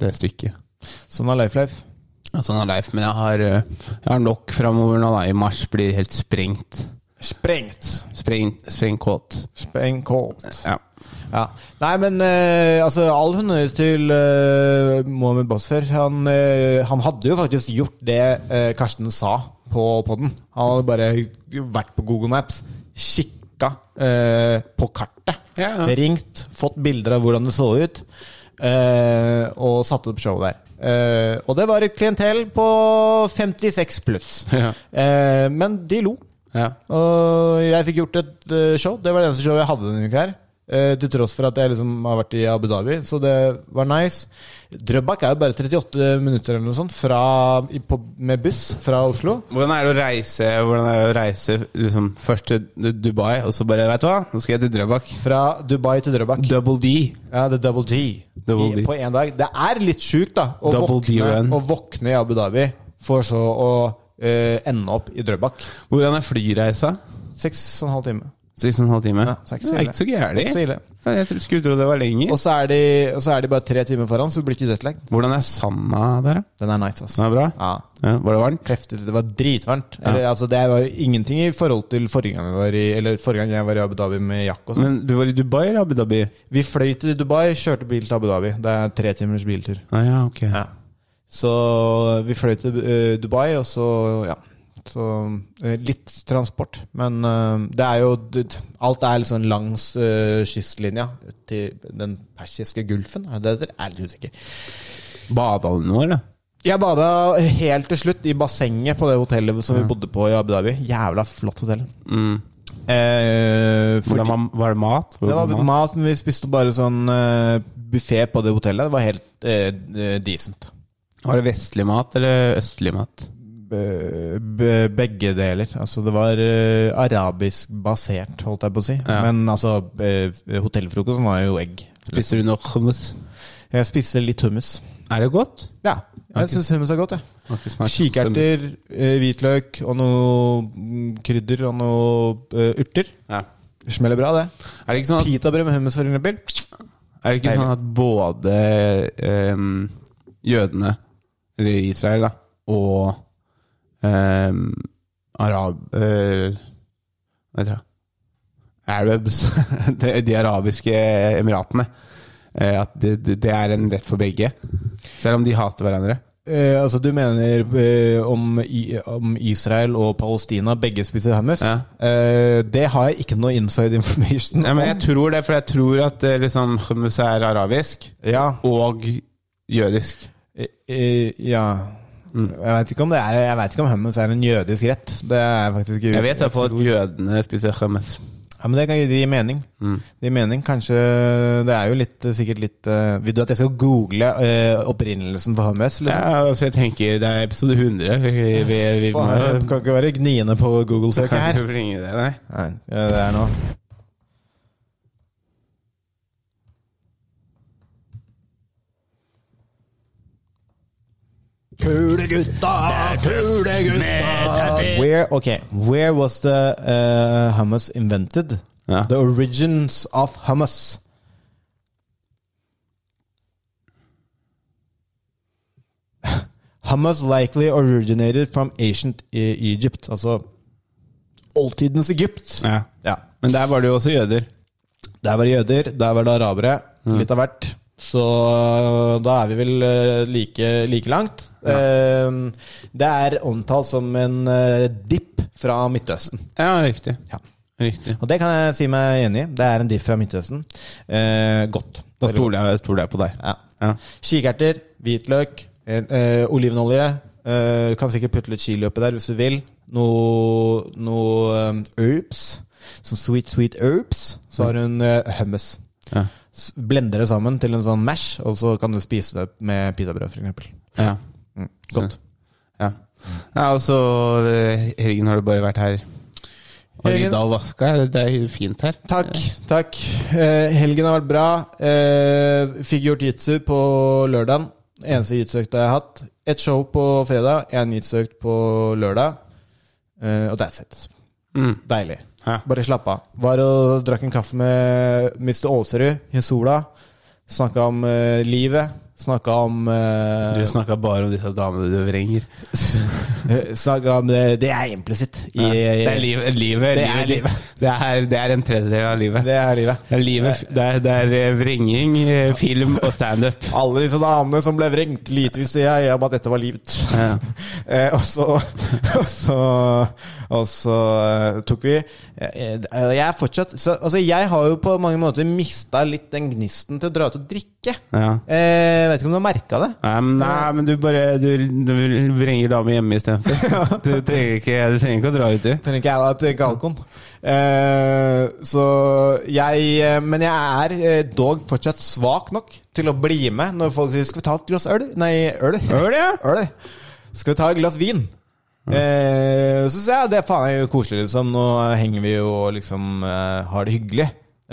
det stykket. Sånn er Life Life. Altså, han er Leif, men jeg har, eh, jeg har nok framover nå. da I mars blir det helt sprengt. Sprengt. Spreng, sprengkåt. Sprengt. Ja. Ja. Nei, men eh, altså, all honnør til eh, Mohammed Basfer. Han, eh, han hadde jo faktisk gjort det eh, Karsten sa på podden. Han hadde bare vært på Google Maps, kikka eh, på kartet, Ja, ja. ringt, fått bilder av hvordan det så ut, eh, og satt opp showet der. Eh, og det var et klientell på 56 pluss. Ja. Eh, men de lo. ja. Og jeg fikk gjort et eh, show. Det var det eneste showet jeg hadde denne uka her. Eh, til tross for at jeg liksom har vært i Abu Dhabi, så det var nice. Drøbak er jo bare 38 minutter eller noe sånt fra, i, på, med buss fra Oslo. Hvordan er det å reise Hvordan er det å reise liksom, først til Dubai, og så bare Vet du hva, nå skal jeg til Drøbak. Fra Dubai til Drøbak. Double D. Ja, det er double G Double I, D. på én dag. Det er litt sjukt, da. Å Double D våkne, run. å våkne i Abu Dhabi, for så å eh, ende opp i Drøbak. Hvordan er flyreisa? Seks og en halv time. Seks og en halv time? Ja, så er ikke så Det ille. er ikke så gærent. Ikke så ille. Jeg tro- skulle tro det var lenger. Og så er, de, og så er de bare tre timer foran, så du blir ikke jetlag. Hvordan er sanda der, da? Den er nice, ass. Den er bra? Ja. Ja, var det varmt? heftig. Det var dritvarmt. Eller, altså, det var jo ingenting i forhold til forrige gang, vi var i, eller forrige gang jeg var i Abu Dhabi med Jack. Og sånn. Men du var i Dubai eller Abu Dhabi? vi fløy til Dubai, kjørte bil til Abu Dhabi. Det er tre timers biltur. Ah, ja, ok. Så vi fløy til eh, Dubai, og så ja. Så eh, litt transport. Men eh, det er jo det- Alt er liksom langs eh, kystlinja til den persiske gulfen. Er det det heter? Jeg er litt usikker. Bada du nå, eller? Jeg bada helt til slutt i bassenget på det hotellet som vi bodde på i Abu Dhabi. Jævla flott hotell. Eh, fordi, Hvordan var, var det mat? det var mat, men vi spiste bare sånn uh, buffé på det hotellet. Det var helt eh, eh, decent. Var det vestlig mat eller østlig mat? Be- be- Begge deler. Altså, det var eh, arabisk basert, holdt jeg på å si. Ja. Men altså, eh, hotellfrokosten var jo egg. Spiser du noe hummus? Jeg spiste litt hummus. Er det godt? Ja, jeg Ok. syns hummus er godt, jeg. Har ikke smakt hummus. Kikerter, eh, hvitløk og noe mm, krydder og noe eh, urter. Ja. Smeller bra, det. Er det ikke sånn at, Pitabrød med hummus, for eksempel. er det ikke sånn at både ehm, jødene, eller Israel, da, og ehm, arab... eh, hva heter det? Arabs, de, de arabiske emiratene. eh, at det, det, det er en rett for begge. Selv om de hater hverandre. Eh, altså, du mener eh, om, i, om Israel og Palestina begge spiser hummus? Ja. Eh, det har jeg ikke noe inside information Nei, om. men jeg tror det, for jeg tror at eh, liksom, hummus er arabisk Ja. og jødisk. Eh, eh, ja. Mm. Jeg veit ikke, om det er- jeg vet ikke om hummus er en jødisk rett. Det er faktisk ikke Jeg vet i hvert fall at jødene spiser hummus. Ja, men det kan gi det gir mening. Mm. Det gir mening, kanskje Det er jo litt, sikkert litt eh, Vil du at jeg skal google eh, opprinnelsen for hummus? Liksom? Ja, altså jeg tenker Det er episode 100. Vi, vi, vi, vi må Faen, jeg kan ikke være gniende på kan Google-søket her. ikke bringe det, nei. Nei, ja, det er nå. Kulegutta, kulegutta Where, okay, where was the uh, hummus invented? Ja. The origins of hummus. Hummus likely originated from ancient E- Egypt, altså oldtidens Egypt. Ja. Men der var det jo også jøder. Der var det jøder, der var det arabere, litt av hvert. Så da er vi vel eh, like, like langt. Eh, Det er omtalt som en eh, dipp fra Midtøsten. Ja, riktig. Ja. Riktig. Og det kan jeg si meg enig i. Det er en dipp fra Midtøsten. Eh, godt. Da stoler jeg, stoler jeg på deg. Ja. Ja. Kikerter, hvitløk, eh, eh, olivenolje. Eh, du kan sikkert putte litt chili oppi der hvis du vil. Noe, noe eh, herbs. Sånn sweet, sweet herbs. Så har hun eh, hummus. Ja. S- Blender det sammen til en sånn mash, og så kan du spise det med pitabrød, f.eks. Ja. Mm, Godt. ja. ja og så eh, Helgen har du bare vært her. Og Helgen- i dag vaska jeg. Det er fint her. Takk. takk eh, Helgen har vært bra. Eh, fikk gjort jitsu på lørdagen. Eneste jitsuøkta jeg har hatt. Et show på fredag, én jitsuøkt på lørdag. Eh, og that's it. Deilig. Ja. Bare slapp av. Var og drakk en kaffe med Mr. Aalsrud i sola. Snakka om eh, livet. Snakka om Du eh, snakka bare om disse damene du vrenger. Snakka eh, om det, det er implisitt. i- eh, Det er livet. livet, Det er livet, livet. Det, er, det er en tredjedel av livet. Det er livet. Det er, livet, det er, det er eh, vrenging, eh, film og standup. Alle disse damene som ble vrengt, lite visste jeg om at dette var livet. Ja. Eh, og så, og så, og så eh, tok vi eh, eh, Jeg er fortsatt så, Altså, jeg har jo på mange måter mista litt den gnisten til å dra ut og drikke. Ja. Eh, vet ikke om du har merka det? Nei, men- nei, men du bare Du, du vrenger damer hjemme istedenfor. Du, trenger ikke- du trenger ikke å dra ut, du. Trenger ikke jeg da, trenger ikke alkoen. Eh, så jeg eh, Men jeg er eh, dog fortsatt svak nok til å bli med når folk sier 'skal vi ta et glass øl'? Nei, øl. Øl, ja. øl. Skal vi ta et glass vin? Eh, så sier jeg det faen er jo koselig, liksom. Nå henger vi jo og liksom eh, har det hyggelig.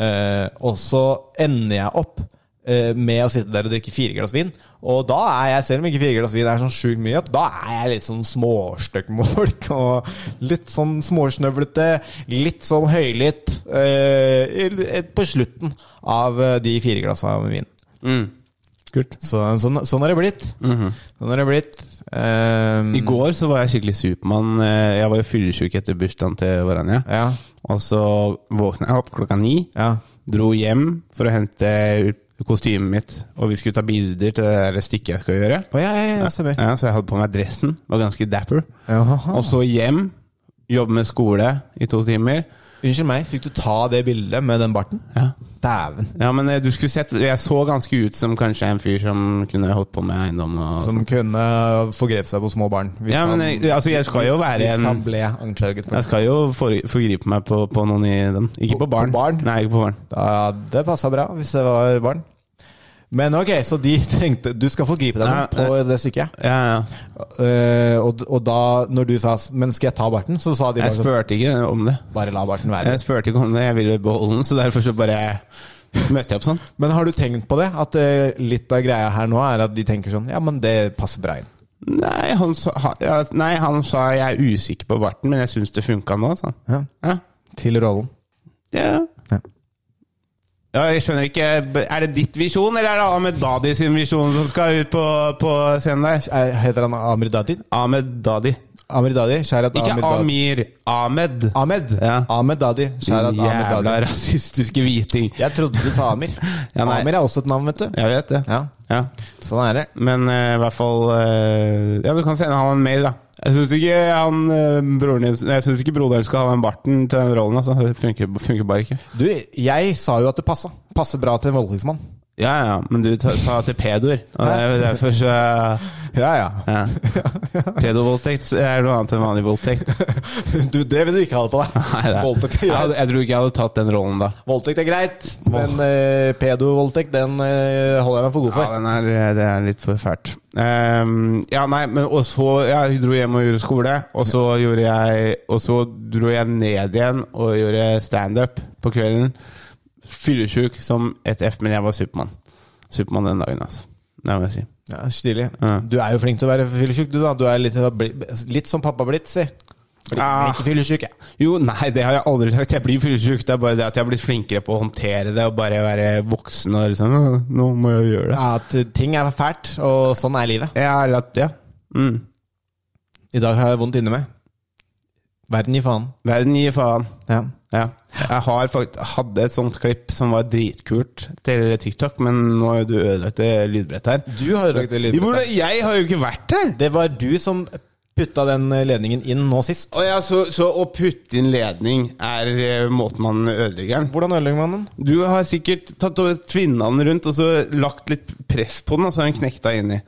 Eh, og så ender jeg opp eh, med å sitte der og drikke fire glass vin. Og da er jeg, selv om ikke fire glass vin er sånn sjukt mye, da er jeg litt sånn småstøkk med folk. Og litt sånn småsnøvlete, litt sånn høylytt eh, i- på slutten av eh, de fire glassa med vin. Kult. Så, sånn, sånn har det blitt. Sånn har det blitt. Eh, I går så var jeg skikkelig Supermann. Eh, Jeg var jo fyllesyk etter bursdagen til Varanja. Ja. Og så våkna jeg opp klokka ni. Ja. Dro hjem for å hente kostymet mitt, og vi skulle ta bilder til det der stykket jeg skal gjøre. Å, ja, ja, ja, stemmer. Ja, så jeg hadde på meg dressen, var ganske dapper. Jaha. Og så hjem, jobbe med skole i to timer. Unnskyld meg, fikk du ta det bildet med den barten? Ja. Dæven. Ja, men eh, du skulle sett Jeg så ganske ut som kanskje en fyr som kunne holdt på med eiendom og Som sånt. kunne forgrepet seg på små barn. Hvis Ja, men han- eh, altså, jeg skal jo være Hvis han en ble anklaget for Jeg skal jo for, forgripe meg på, på noen i den. Ikke på På- barn. på barn? Nei, ikke på barn. Ja, det passa bra, hvis det var barn. Men ok, så de tenkte Du skal forgripe deg Ja, eh, på det stykket. Ja, ja. Eh, og, og da, når du sa 'men skal jeg ta barten', så sa de bare Jeg sånn spurte ikke om det. Bare la barten være. Jeg spurte ikke om det, jeg ville beholde den, så derfor så bare møtte jeg opp sånn. Men har du tenkt på det? At eh, litt av greia her nå er at de tenker sånn Ja, men det passer bra inn. Nei, han sa, ha- ja, nei, han sa jeg er usikker på barten, men jeg syns det funka nå, sa han. Ja. Ja. Til rollen. Ja. Ja. Ja, jeg skjønner ikke Er det ditt visjon, eller er det Ahmed Dadi sin visjon som skal ut på, på scenen der? Er- Eh, Heter han Amir Dadi? Ahmed Dadi. Amir Dadi? Skjær at Ikke Amir Dadi. Amir. Ahmed. Ahmed. Ja. Ahmed Dadi. Skjær at Din Ahmed jævla Dadi. rasistiske hviting. Jeg trodde du sa Amir. Ja, nei. Amir er også et navn, vet du. Jeg vet det. Ja, Ja. sånn er det. Men eh, i hvert fall eh, Ja, du kan sende han en mail, da. Jeg syns ikke han eh, broren din Jeg synes ikke broderen skal ha den barten til den rollen. Altså. Det funker, funker bare ikke. Du, jeg sa jo at det passa. Passer bra til en voldtektsmann. Ja, ja, men du sa sa til pedoer. Og det er jo derfor så Ja, ja. ja. Pedovoldtekt er noe annet enn vanlig voldtekt. Du, det vil du ikke ha det på Nei, deg. det er- Voldtekt er jeg, hadde- greit. jeg tror ikke jeg hadde tatt den rollen da. Voldtekt er greit, men eh, pedovoldtekt, den eh, holder jeg meg for god Ja, for. den er, eh, det er litt for fælt. Ehm, ja, nei, men og så Jeg dro hjem og gjorde skole, og så gjorde jeg Og så dro jeg ned igjen og gjorde standup på kvelden. Fyllesjuk som et F, men jeg var Supermann. Supermann den dagen, altså. Det må jeg si. Ja, Stilig. Ja. Du er jo flink til å være fyllesyk, du, da. Du er litt, litt som pappa blitt, si. Blir Ah. blir ikke fyllesyk, jeg. Jo, nei, det har jeg aldri sagt. Jeg blir fyllesyk. Det er bare det at jeg har blitt flinkere på å håndtere det og bare være voksen og liksom «Åh, Nå må jeg gjøre det. At eh, ting er fælt, og sånn er livet. Ja, eller at Ja. Mm. I dag har jeg vondt inni meg. Verden gir faen. Verden gir faen. Ja. Ja. Jeg har fakt hadde et sånt klipp som var dritkult til TikTok, men nå har jo du ødelagt det lydbrettet her. Du har ødelagt det lydbrettet. Jo, men Jeg har jo ikke vært her! Det var du som putta den eh, ledningen inn nå sist. Og ja, så, så å putte inn ledning er eh, måten man ødelegger den. Hvordan ødelegger man den? Du har sikkert tatt og tvinna den rundt og så lagt litt press på den, og så har den knekta inni.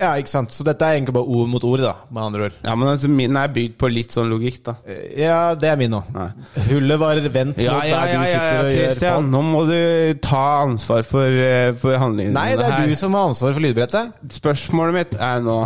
Ja, ikke sant. Så dette er egentlig bare ord mot ord, da. Med andre ord. Ja, men altså, min er bygd på litt sånn logikk, da. Eh, Ja, det er min nå. Nei. Hullet var vendt Ja, mot ja, der ja, du ja, sitter og gjør Christian, faen. nå må du ta ansvar for, eh, for handlingene Nei, det er du som har ansvaret for lydbrettet. Spørsmålet mitt er nå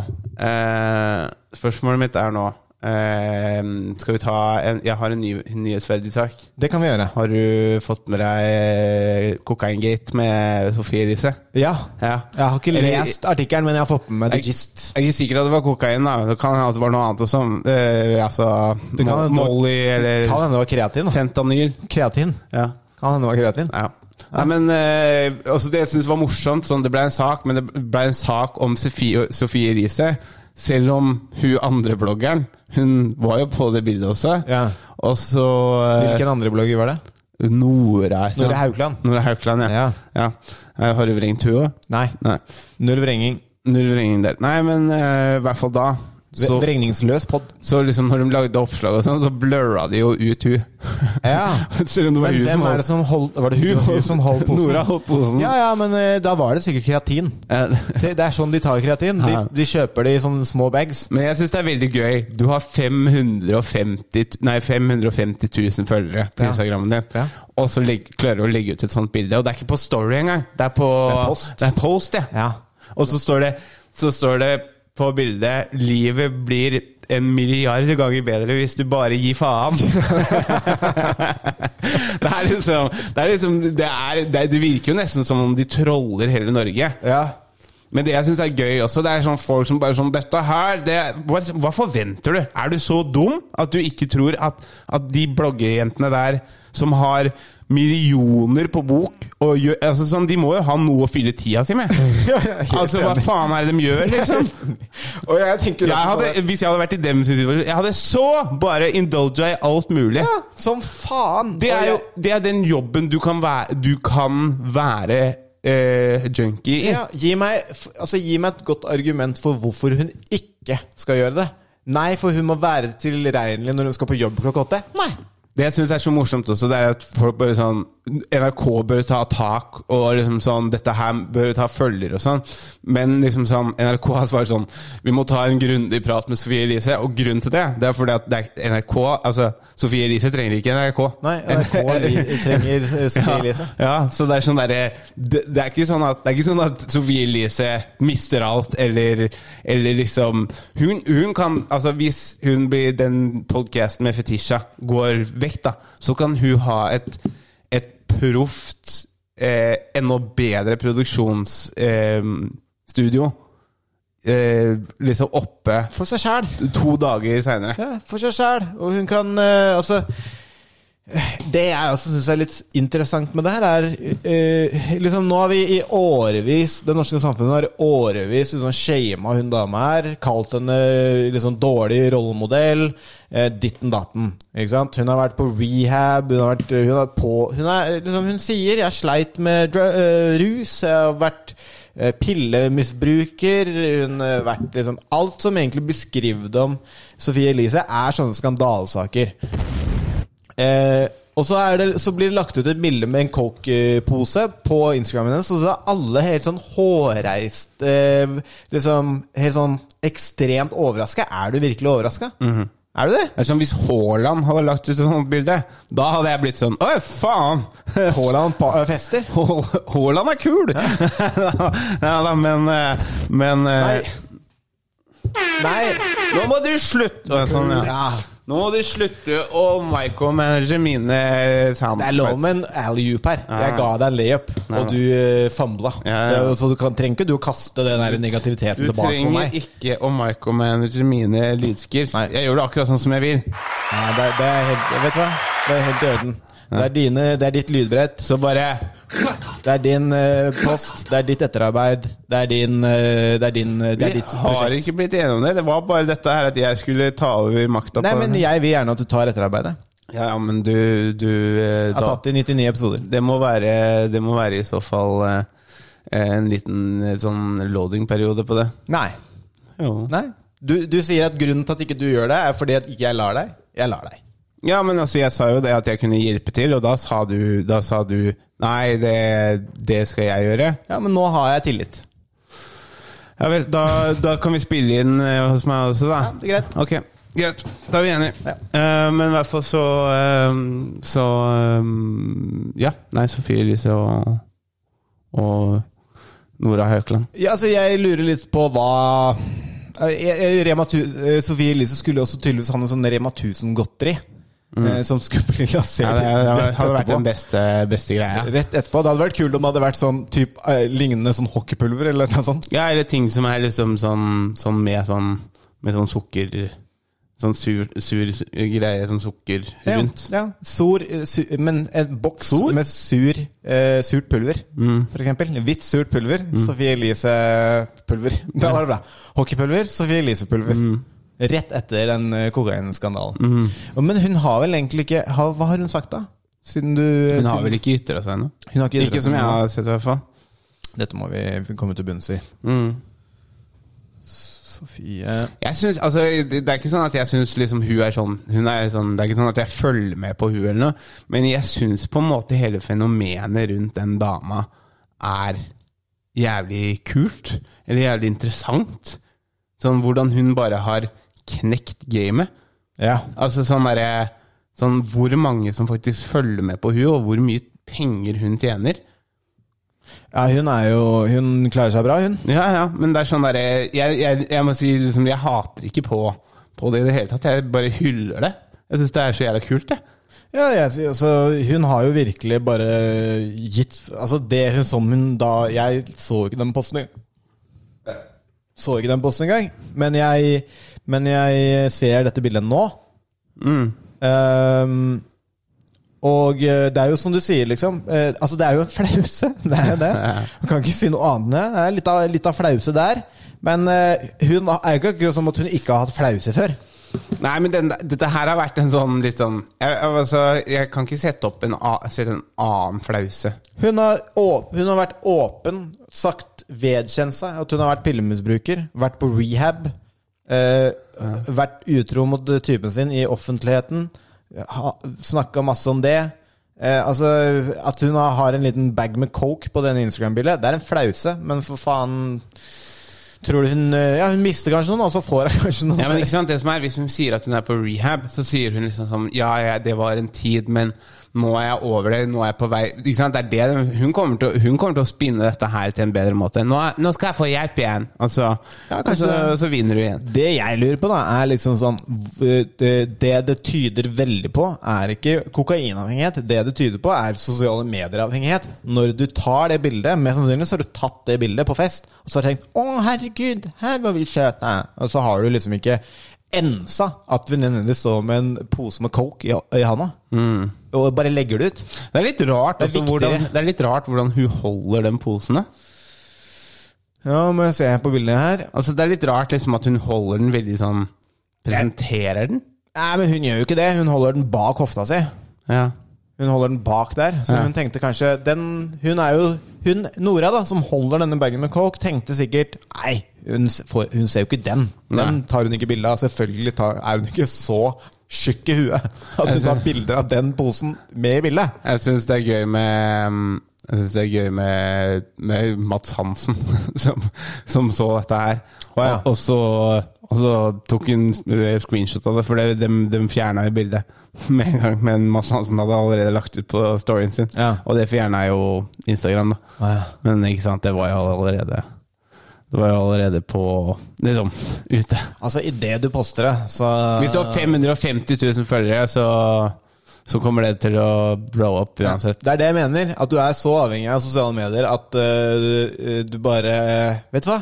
eh, Spørsmålet mitt er nå Eh, skal vi ta en, Jeg har en ny, nyhetsverdig sak. Det kan vi gjøre. Har du fått med deg eh, Kokaingate med Sofie Elise? Ja. Ja. Jeg har ikke Eller- lest artikkelen, men jeg har fått med meg the gist. Jeg er ikke sikker at det var kokain, da. Det kan hende at det var noe annet også. Eh, altså Det kan hende- Mo- Molly eller Kan hende det var kreatin. da. fentanyl. Kreatin. Ja. Kan hende det var kreatin. ja. Nei, men eh, altså Det jeg syns var morsomt, sånn, det ble en sak, men det ble en sak om Sofie, Sofie Elise. Selv om hun andre bloggeren, hun var jo på det bildet også. Ja. Og så eh, Hvilken andre blogger var det? Nora et eller Nore annet. Haukland. Nora Haukeland, ja. ja. Eh, Har du vrengt hun òg? Nei. Nei. Null vrenging. Null vrengning der. Nei, men eh, i hvert fall da. V- Vrengningsløs pod. Så liksom når de lagde oppslag og sånn, så blurra de jo ut hun. Ja. Selv om det var Men hun hvem som er det som holdt Var det hun, det var hun som holdt posen? Nora holdt posen. Ja, ja, men eh, da var det sikkert kreatin. Eh, Det, det er sånn de tar kreatin. De, Ja. de kjøper det i sånne små bags. Men jeg syns det er veldig gøy. Du har 550, nei, 550 000 følgere på Ja. Instagrammen din, Ja. og så legg, klarer du å legge ut et sånt bilde. Og det er ikke på story engang. Det er på Det er post. Det er post, ja. Ja. Og så står, det, så står det på bildet 'Livet blir en milliard ganger bedre hvis du bare gir faen'. det er liksom, det, er liksom det, er, det, det virker jo nesten som om de troller hele Norge. Ja. Men det jeg syns er gøy også, det er sånn folk som bare sånn Dette her, det, hva, hva forventer du? Er du så dum at du ikke tror at, at de bloggejentene der som har millioner på bok og gjør, altså sånn, De må jo ha noe å fylle tida si med. altså, hva faen er det de gjør, liksom? Og jeg tenker Jeg også hadde, sånn- hvis jeg hadde vært i dem sin situasjon, jeg hadde så bare indulga i alt mulig. ja, Som faen! Det er Og jo jeg- det er den jobben du kan være, du kan være eh, junkie i. ja, gi, meg, f- altså, gi meg et godt argument for hvorfor hun ikke skal gjøre det. Nei, for hun må være tilregnelig når hun skal på jobb klokka åtte. Nei. Det jeg syns er så morsomt også, det er at folk bare sånn NRK bør ta tak, og liksom sånn Dette her bør ta følger og sånn. Men liksom sånn NRK har svart sånn Vi må ta en grundig prat med Sofie Elise. Og grunnen til det, det er fordi at det er NRK Altså, Sofie Elise trenger ikke NRK. Nei, NRK vi trenger eh, Sofie Elise. Ja, ja, så det er sånn derre det, det er ikke sånn at, det er ikke sånn at Sofie Elise mister alt, eller, eller liksom hun, hun kan Altså, hvis hun blir den podcasten med Fetisha går vekk, da, så kan hun ha et, et proft, eh, enda bedre produksjonsstudio. Eh, studio, eh, liksom oppe For seg sjæl. to dager seinere. Ja, for seg sjæl. Og hun kan eh, Altså Det jeg også syns er litt interessant med det her, er eh, liksom Nå har vi i årevis Det norske samfunnet har i årevis liksom shama hun dama her. Kalt henne liksom dårlig rollemodell. eh, Ditten datten. Ikke sant? Hun har vært på rehab. Hun har vært eh, Hun er på Hun, er, liksom, hun sier 'jeg sleit med dr eh, rus', 'jeg har vært eh, pillemisbruker Hun har vært liksom Alt som egentlig beskriver om Sofie Elise, er sånne skandalesaker. Eh, og så, er det, så blir det lagt ut et bilde med en coke-pose på Instagramen hennes, og så er alle helt sånn hårreist eh, Liksom helt sånn ekstremt overraska. Er du virkelig overraska? Mhm. Er du det? Det er som Hvis Haaland hadde lagt ut et sånt bilde, da hadde jeg blitt sånn Å, faen! Haaland pa- øh, fester? Haal- Haaland er kul! ja da, men eh, Men eh, Nei. Nei. Nå må du slutte! Å, Sånn, ja. Ja, Nå må du slutte å micromanage mine soundbites. det er lov med en alley-oop her. Jeg ga deg en layup, og du eh, fambla. Ja, ja. Det- Så du kan, trenger ikke du å kaste den der negativiteten Du tilbake på meg. trenger ikke å micromanage mine lydskills. Jeg gjør det akkurat sånn som jeg vil. Ja, det, er- det er helt, vet du hva? Det er helt i orden. Det er, dine, det er ditt lydbrett, Så bare det er din eh, post, det er ditt etterarbeid, det er, din, eh, det er, din, eh, det er Vi ditt har prosjekt. ikke blitt enige om det. Det var bare dette her at jeg skulle ta over makta Nei, på men jeg vil gjerne at du tar etterarbeidet. Ja, ja, men du, du Jeg eh, har da- tatt det i 99 episoder. Det må være, det må være i så fall eh, en liten eh, sånn loading-periode på det. Nei. Jo. Nei. Du, du sier at grunnen til at ikke du gjør det, er fordi at ikke jeg lar deg. Jeg lar deg. Ja, men altså, jeg sa jo det at jeg kunne hjelpe til, og da sa du, da sa du Nei, det, det skal jeg gjøre. Ja, men nå har jeg tillit. Ja vel, da, da kan vi spille inn eh, hos meg også, da. Ja, det er greit. Ok, greit. Da er vi enige. Eh, men i hvert fall så eh, Så eh, Ja. Nei, Sofie Elise og, og Nora Haukeland. Ja, altså, jeg lurer litt på hva Eh, eh, Rema tu eh, Sofie Elise skulle også tydeligvis ha noe sånn Rema 1000-godteri. eh, Som skulle bli Mm. Ja, lansert det rett hadde vært etterpå. den beste, beste greia. Rett etterpå. Det hadde vært kult om det hadde vært sånn typ, eh, lignende sånn hockeypulver eller noe sånt. Ja, eller ting som er liksom sånn, sånn med sånn Med sånn sukker Sånn sur, sur su- greie, sånn sukker Ja, rundt. Ja. Sor, eh, su, men en boks Sor? Mm. med sur, eh, surt pulver, for eksempel. Hvitt surt pulver. Sofie Elise-pulver. Det var det bra. Hockeypulver, Sofie Elise-pulver. Mm. Rett etter den eh, kokainskandalen. Og- Men hun har vel egentlig ikke har, Hva har hun sagt, da? Siden du Hun har siden- vel ikke ytra seg ennå? Hun har ikke ytret Ikke seg som jeg ennå. har sett, i hvert fall. Dette må vi komme til bunns i. Mm. Sofie Jeg synes, altså, det det er ikke sånn at jeg syns liksom, hun er sånn, hun er sånn Det er ikke sånn at jeg følger med på hun eller noe, men jeg syns på en måte hele fenomenet rundt den dama er jævlig kult. Eller jævlig interessant. Sånn hvordan hun bare har knekt gamet. Ja. Altså sånn derre Sånn hvor mange som faktisk følger med på hun, og hvor mye penger hun tjener. ja, hun er jo Hun klarer seg bra, hun. Ja, ja, men det er sånn derre jeg, jeg, jeg må si liksom Jeg hater ikke på, på det i det hele tatt. Jeg bare hyller det. Jeg syns det er så jævla kult, jeg. Ja, jeg, sy- altså, hun har jo virkelig bare gitt Altså, det hun som hun da Jeg så ikke den posten engang. Så ikke den posten engang. Men jeg, men jeg ser dette bildet nå. Ehm, og eh, det er jo som du sier, liksom. eh, altså, det er jo en flause. Det er jo det. Man kan ikke si noe annet. Det er litt av, litt av flause der. Men eh, hun er jo ikke akkurat som at hun ikke har hatt flause før. Nei, men den, dette her har vært en sånn litt sånn jeg, jeg- altså, jeg kan ikke sette opp en, a- sette en annen flause. Hun har, å- hun har vært åpen, sagt vedkjent seg at hun har vært pillemisbruker, vært på rehab, eh, vært utro mot eh, typen sin i offentligheten, snakka masse om det. Eh, altså, At hun har- har en liten bag med coke på denne Instagram-bildet, det er en flause, men for faen Tror du hun eh, Ja, hun mister kanskje noen, og så får hun kanskje noen. Ja, men ikke sant, det som er Hvis hun sier at hun er på rehab, så sier hun liksom sånn Ja, ja det var en tid, men nå er jeg over det. Nå er jeg på vei Ikke sant, det er det Hun kommer til, å- hun kommer til å spinne dette her til en bedre måte. Nå, er- nå skal jeg få hjelp igjen! Og så, Ja, og kanskje så, så vinner du igjen. Det jeg lurer på, da, er liksom sånn v- Det det det tyder veldig på, er ikke kokainavhengighet. Det det tyder på, er sosiale medieavhengighet. Når du tar det bildet, mest sannsynlig så har du tatt det bildet på fest, og så har du tenkt 'Å, herregud, her var vi søte', og så har du liksom ikke ensa at venninnen din står med en pose med coke i, i handa, og bare legger det ut. Det er litt rart Det er altså, viktigere. hvordan, det er litt rart hvordan hun holder den posen. da. Ja, må jeg se på bildet her Altså, det er litt rart liksom at hun holder den veldig sånn Presenterer den. Nei, men hun gjør jo ikke det. Hun holder den bak hofta si. Ja. Hun holder den bak der, så Ja. hun tenkte kanskje den, Hun er jo hun, Nora, da, som holder denne bagen med coke, tenkte sikkert Nei, hun, s- får, hun ser jo ikke den. Den Nei. tar hun ikke bilde av. Selvfølgelig tar, er hun ikke så tjukk i huet at hun tar bilder av den posen med i bildet. Jeg syns det er gøy med um, jeg synes det er gøy med, med Mats Hansen, som, som så dette her. Og, ja. og, så, og så tok hun eh, screenshot av det, for det, dem, dem fjerna jo bildet med en gang. Men Mats Hansen hadde allerede lagt ut på storyen sin, Ja. og det fjerna jo Instagram. da Å, ja. Men ikke sant, det var jo allerede Det var jo allerede på Liksom ute. Altså, idet du poster det, så Hvis du har 550 000 følgere, så, så kommer det til å blow up uansett. Det er det jeg mener. At du er så avhengig av sosiale medier at eh, du bare Vet du hva?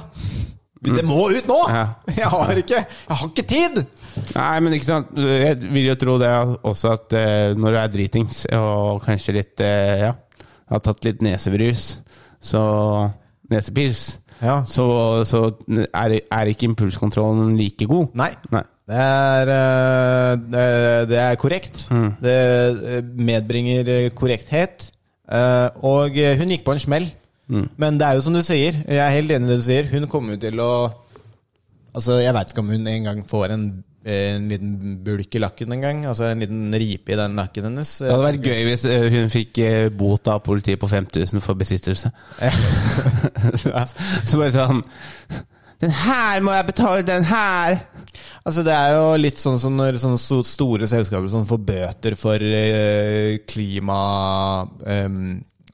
Det må ut nå! Ja. Jeg har ikke Jeg har ikke tid! Nei, men ikke sant Jeg vil jo tro det også at eh, når du er dritings og kanskje litt eh, Ja, har tatt litt nesebrus, så Nesepils. Ja. Så, så er, er ikke impulskontrollen like god. Nei. Det er, eh, det- det er korrekt. Mm. Det eh, medbringer eh, korrekthet. Eh, Og eh, hun gikk på en smell. Mm. Men det er jo som du sier, jeg er helt enig i det du sier. Hun kommer jo til å Altså, Jeg veit ikke om hun en gang får en, eh, en liten bulk i lakken en gang. Altså en liten ripe i den lakken hennes. Det hadde vært gøy hvis eh, hun fikk eh, bot av politiet på 5000 for besittelse. så bare sånn Den her må jeg betale! Den her! Altså Det er jo litt sånn som når sånne sto- store selskaper sånn får bøter for eh, klima... em,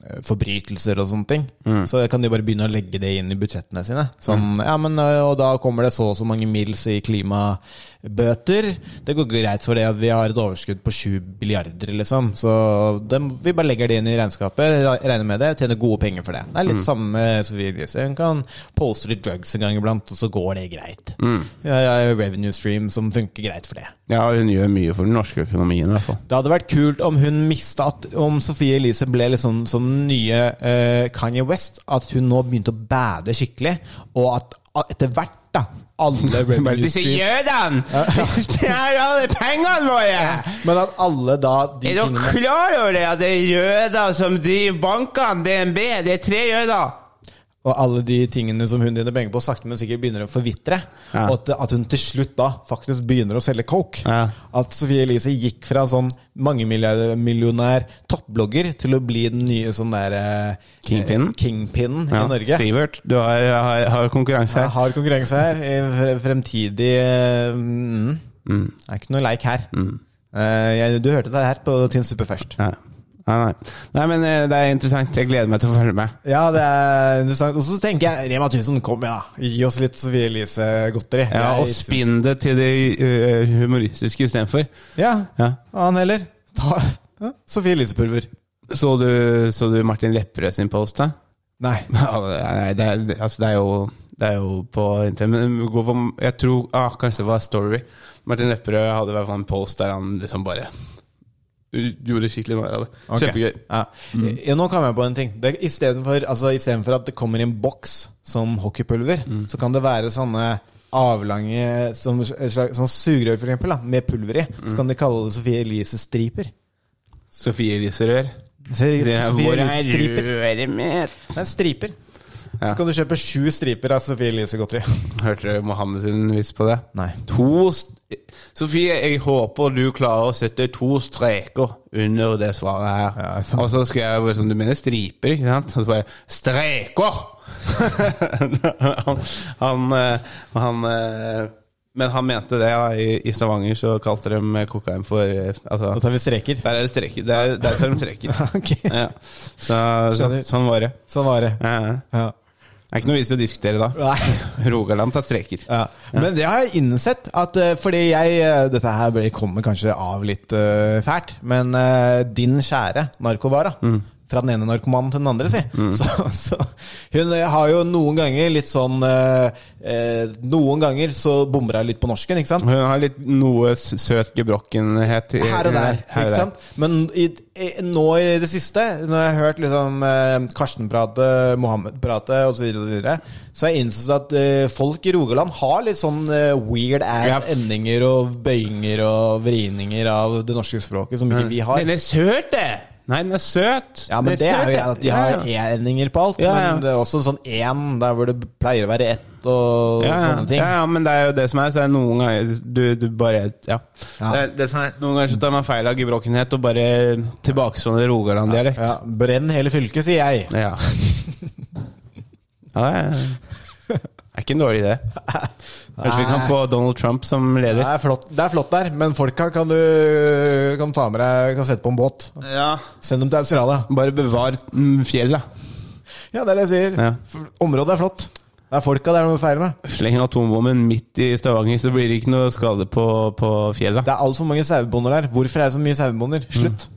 eh, forbrytelser og sånne ting. Så kan de bare begynne å legge det inn i budsjettene sine. Sånn, ja, men, ø, og da kommer det så og så mange mils i klimabøter. Det går greit for det at vi har et overskudd på 7 milliarder, liksom. Så dem- vi bare legger det inn i regnskapet, re- regner med det, tjener gode penger for det. Det er litt samme som vi viser. Hun kan poste litt drugs en gang iblant, og så går det greit. Ja, ja, revenue stream som funker greit for det. Ja, hun gjør mye for den norske økonomien, i hvert fall. Det hadde vært kult om hun mista at Om Sophie Elise ble liksom som den nye eh, Kanye West. At hun nå begynte å bade skikkelig, og at a- etter hvert da alle Bare revenue disse streams jødene! Det er alle pengene våre! Men at alle da de Er dere tingene klar over det at det er jøder som driver bankene, DNB? Det er tre jøder! Og alle de tingene som hun tjener penger på, sakte, men sikkert begynner å forvitre. Ja. Og at, at hun til slutt da faktisk begynner å selge coke. Ja. At Sophie Elise gikk fra en sånn mangemillionær toppblogger til å bli den nye sånn derre Kingpinnen? Kingpinnen Ja, i Norge. Sivert, du har, har, har konkurranse Jeg her. har konkurranse her. i fre- Fremtidig eh, mm. Det er ikke noe leik her. Eh, jeg, du hørte det her på Tynn suppe først. Nei. Nei, nei. nei, men eh, det er interessant. Jeg gleder meg til å følge med. Ja, det er interessant. Og så tenker jeg Rema 1000, kom ja. Gi oss litt Sophie Elise godteri. Ja, Jeg Og synes- spinn det til det eh, humoristiske istedenfor. Ja. Ja. Og han heller. Ta ja, Sophie Elise-pulver. Så, du- så du Martin Lepperød sin post, da? Nei. Ja, Nei, det er, det- altså, det er jo det er jo på internet, men det går på, jeg tror ah, kanskje det var Story. Martin Lepperød hadde i hvert fall en post der han liksom bare gjorde skikkelig narr av det. Ok. Kjempegøy. Ja. Mm. Ja, nå kom jeg på en ting. Det- Istedenfor altså, i stedet for at det kommer i en boks som hockeypulver, Mm. så kan det være sånne avlange som, et slags- sånn sugerør, for eksempel, da, med pulver i. Mm. Så kan de kalle det Sofie Elise-striper. Sofie Elise-rør. Sofie Hvor er Elise-striper. røret mitt? Det er striper. Ja. Så kan du kjøpe sju striper av Sofie Elise-godteri. Hørte dere Mohammed sin vits på det? Nei. To st Sofie, jeg håper du klarer å sette to streker under det svaret her. Ja, sant. og så skal jeg bare sånn Du mener striper, ikke sant? Og så bare Streker! han, han, eh, han eh, Men han mente det, ja. I, i Stavanger så kalte de kokain for eh, Da Altså, tar vi streker. der er det streker. Der, der tar de streker. Ok. ja. så, så, Skjønner. sånn var det. Sånn var det. Ja, ja. Ja. Det er ikke noe vits i å diskutere da. Nei. Rogaland tar streker. Ja. Men det har jeg innsett. At, eh, fordi jeg eh, Dette her ble- kommer kanskje av litt eh, fælt, men eh, din kjære narkovara Fra den ene narkomanen til den andre, si. Så, så, hun eh, har jo noen ganger litt sånn eh, eh, Noen ganger så bommer hun litt på norsken, ikke sant? Hun har litt noe s- søt gebrokkenhet. i- Her og der. her og ikke der. sant? Men i, i, nå i det siste, når jeg har hørt liksom, eh, Karsten prate, Mohammed prate osv., så, videre, og så, videre, så har jeg innsett at eh, folk i Rogaland har litt sånn eh, weird ass Ja. endinger og bøyinger og vrininger av det norske språket som ikke vi Den har. er søt, det! Nei, den er søt! Ja, men Den det er søt, jo det. at de har Ja, ja. e-endinger på alt, Ja, ja. men det er også sånn én der hvor det pleier å være ett og ja, ja. sånne ting. ja, ja, men det er jo det som er. Så er det noen ganger du, du bare Ja. Ja. Det er det som er, noen ganger så tar man feil av gebrokkenhet og bare tilbakestående Rogaland-dialekt. Ja, brenn hele fylket, sier jeg. Ja. ja, det er, er ikke en dårlig idé. Kanskje vi kan få Donald Trump som Det leder. er flott, det er flott der, men folka kan du kan ta med deg, kan sette på en båt. Ja. Send dem til Australia. Bare bevar mm, fjellet. Ja, det er det jeg sier. Ja. F- Området er flott. Det er folka det er noe feil med. Sleng atombomben midt i Stavanger, så blir det ikke noe skade på, på fjellet. Det er altfor mange sauebonder der. Hvorfor er det så mye sauebonder? Slutt. Mm.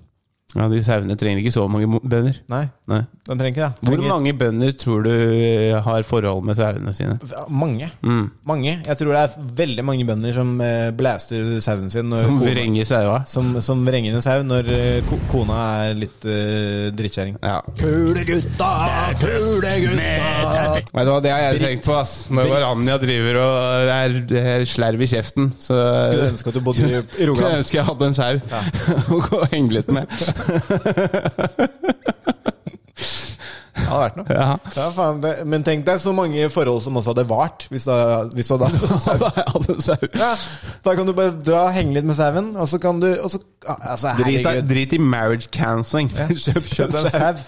Ja, de sauene trenger ikke så mange mo- bønder. Nei, Nei. den trenger ikke det. Hvor Trenger- mange bønder tror du eh, har forhold med sauene sine? Ja, Mange. Mm. Mange. Jeg tror det er veldig mange bønder som eh, blaster sauen sin. Når Som kona- vrenger saua? Som, som vrenger en sau når eh, ko- kona er litt uh, drittkjerring. Ja. Kulegutta, kulegutta Vet du hva, det har jeg tenkt på, ass. Når Britt. Ranja driver og er, er slerv i kjeften, så Skulle ønske at du bodde i i Skulle Rogaland. ønske jeg hadde en sau å gå og henge litt med. Det hadde vært noe. Ja. Ja, faen, det, men tenk deg så mange forhold som også hadde vart hvis da- hvis du hadde hatt sau. Da hadde en sau. Ja, da kan du bare dra og henge litt med sauen, og så kan du og så, ja, altså, Drit, i- Herregud. drit i marriage counseling. Kjøp, Kjøp deg en sau.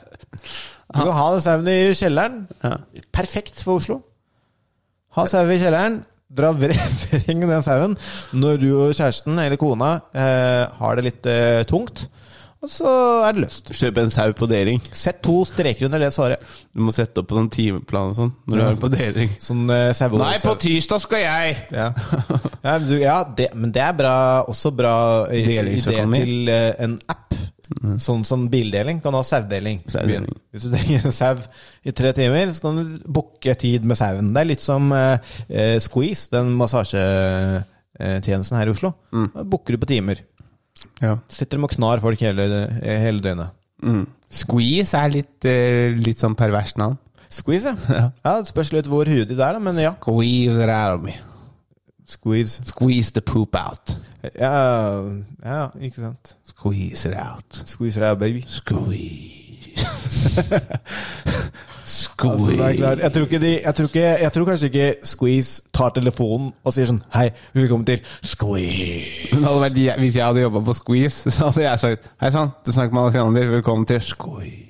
Du kan ha den sauen i kjelleren. Perfekt for Oslo. Ha sau i kjelleren. Dra vre- vreng den sauen når du og kjæresten eller kona eh, har det litt eh, tungt. og så er det løst. Kjøp en sau på deling. Sett to streker under det svaret. Du må sette opp på sånn timeplan og sånn når du Ja. har en på deling. Sånn uh, Nei, på tirsdag skal jeg! Ja, ja, men du, ja det, men det er bra, også bra eh, idé Delingsøkonomi. til eh, en app. Sånn som bildeling. Kan du ha saudeling. Saudeling. Hvis du trenger en sau i tre timer, så kan du booke tid med sauen. Det er litt som eh, eh, Squeeze, den massasjetjenesten her i Oslo. Da Booker du på timer. Ja. Sitter de og knar folk hele, eh, hele døgnet. Mm. Squeeze er litt, eh, litt sånn perverst navn. Squeeze, ja. ja det spørs litt hvor huet ditt er, da, men ja. Squeeze it out of me. Squeeze. Squeeze the poop out. Ja, ja ikke sant. Squeeze it out. Squeeze ræva, baby. Squeeze. Altså, Squeeze. Altså, det er klart. Jeg, tror ikke de, jeg, tror ikke, jeg tror kanskje ikke Squeeze tar telefonen og sier sånn Hei, velkommen til Squeeze. Men det hadde vært, jæ- hvis jeg hadde jobba på Squeeze, så hadde jeg sagt Hei sann, du snakker med Alexander, velkommen til Squeeze.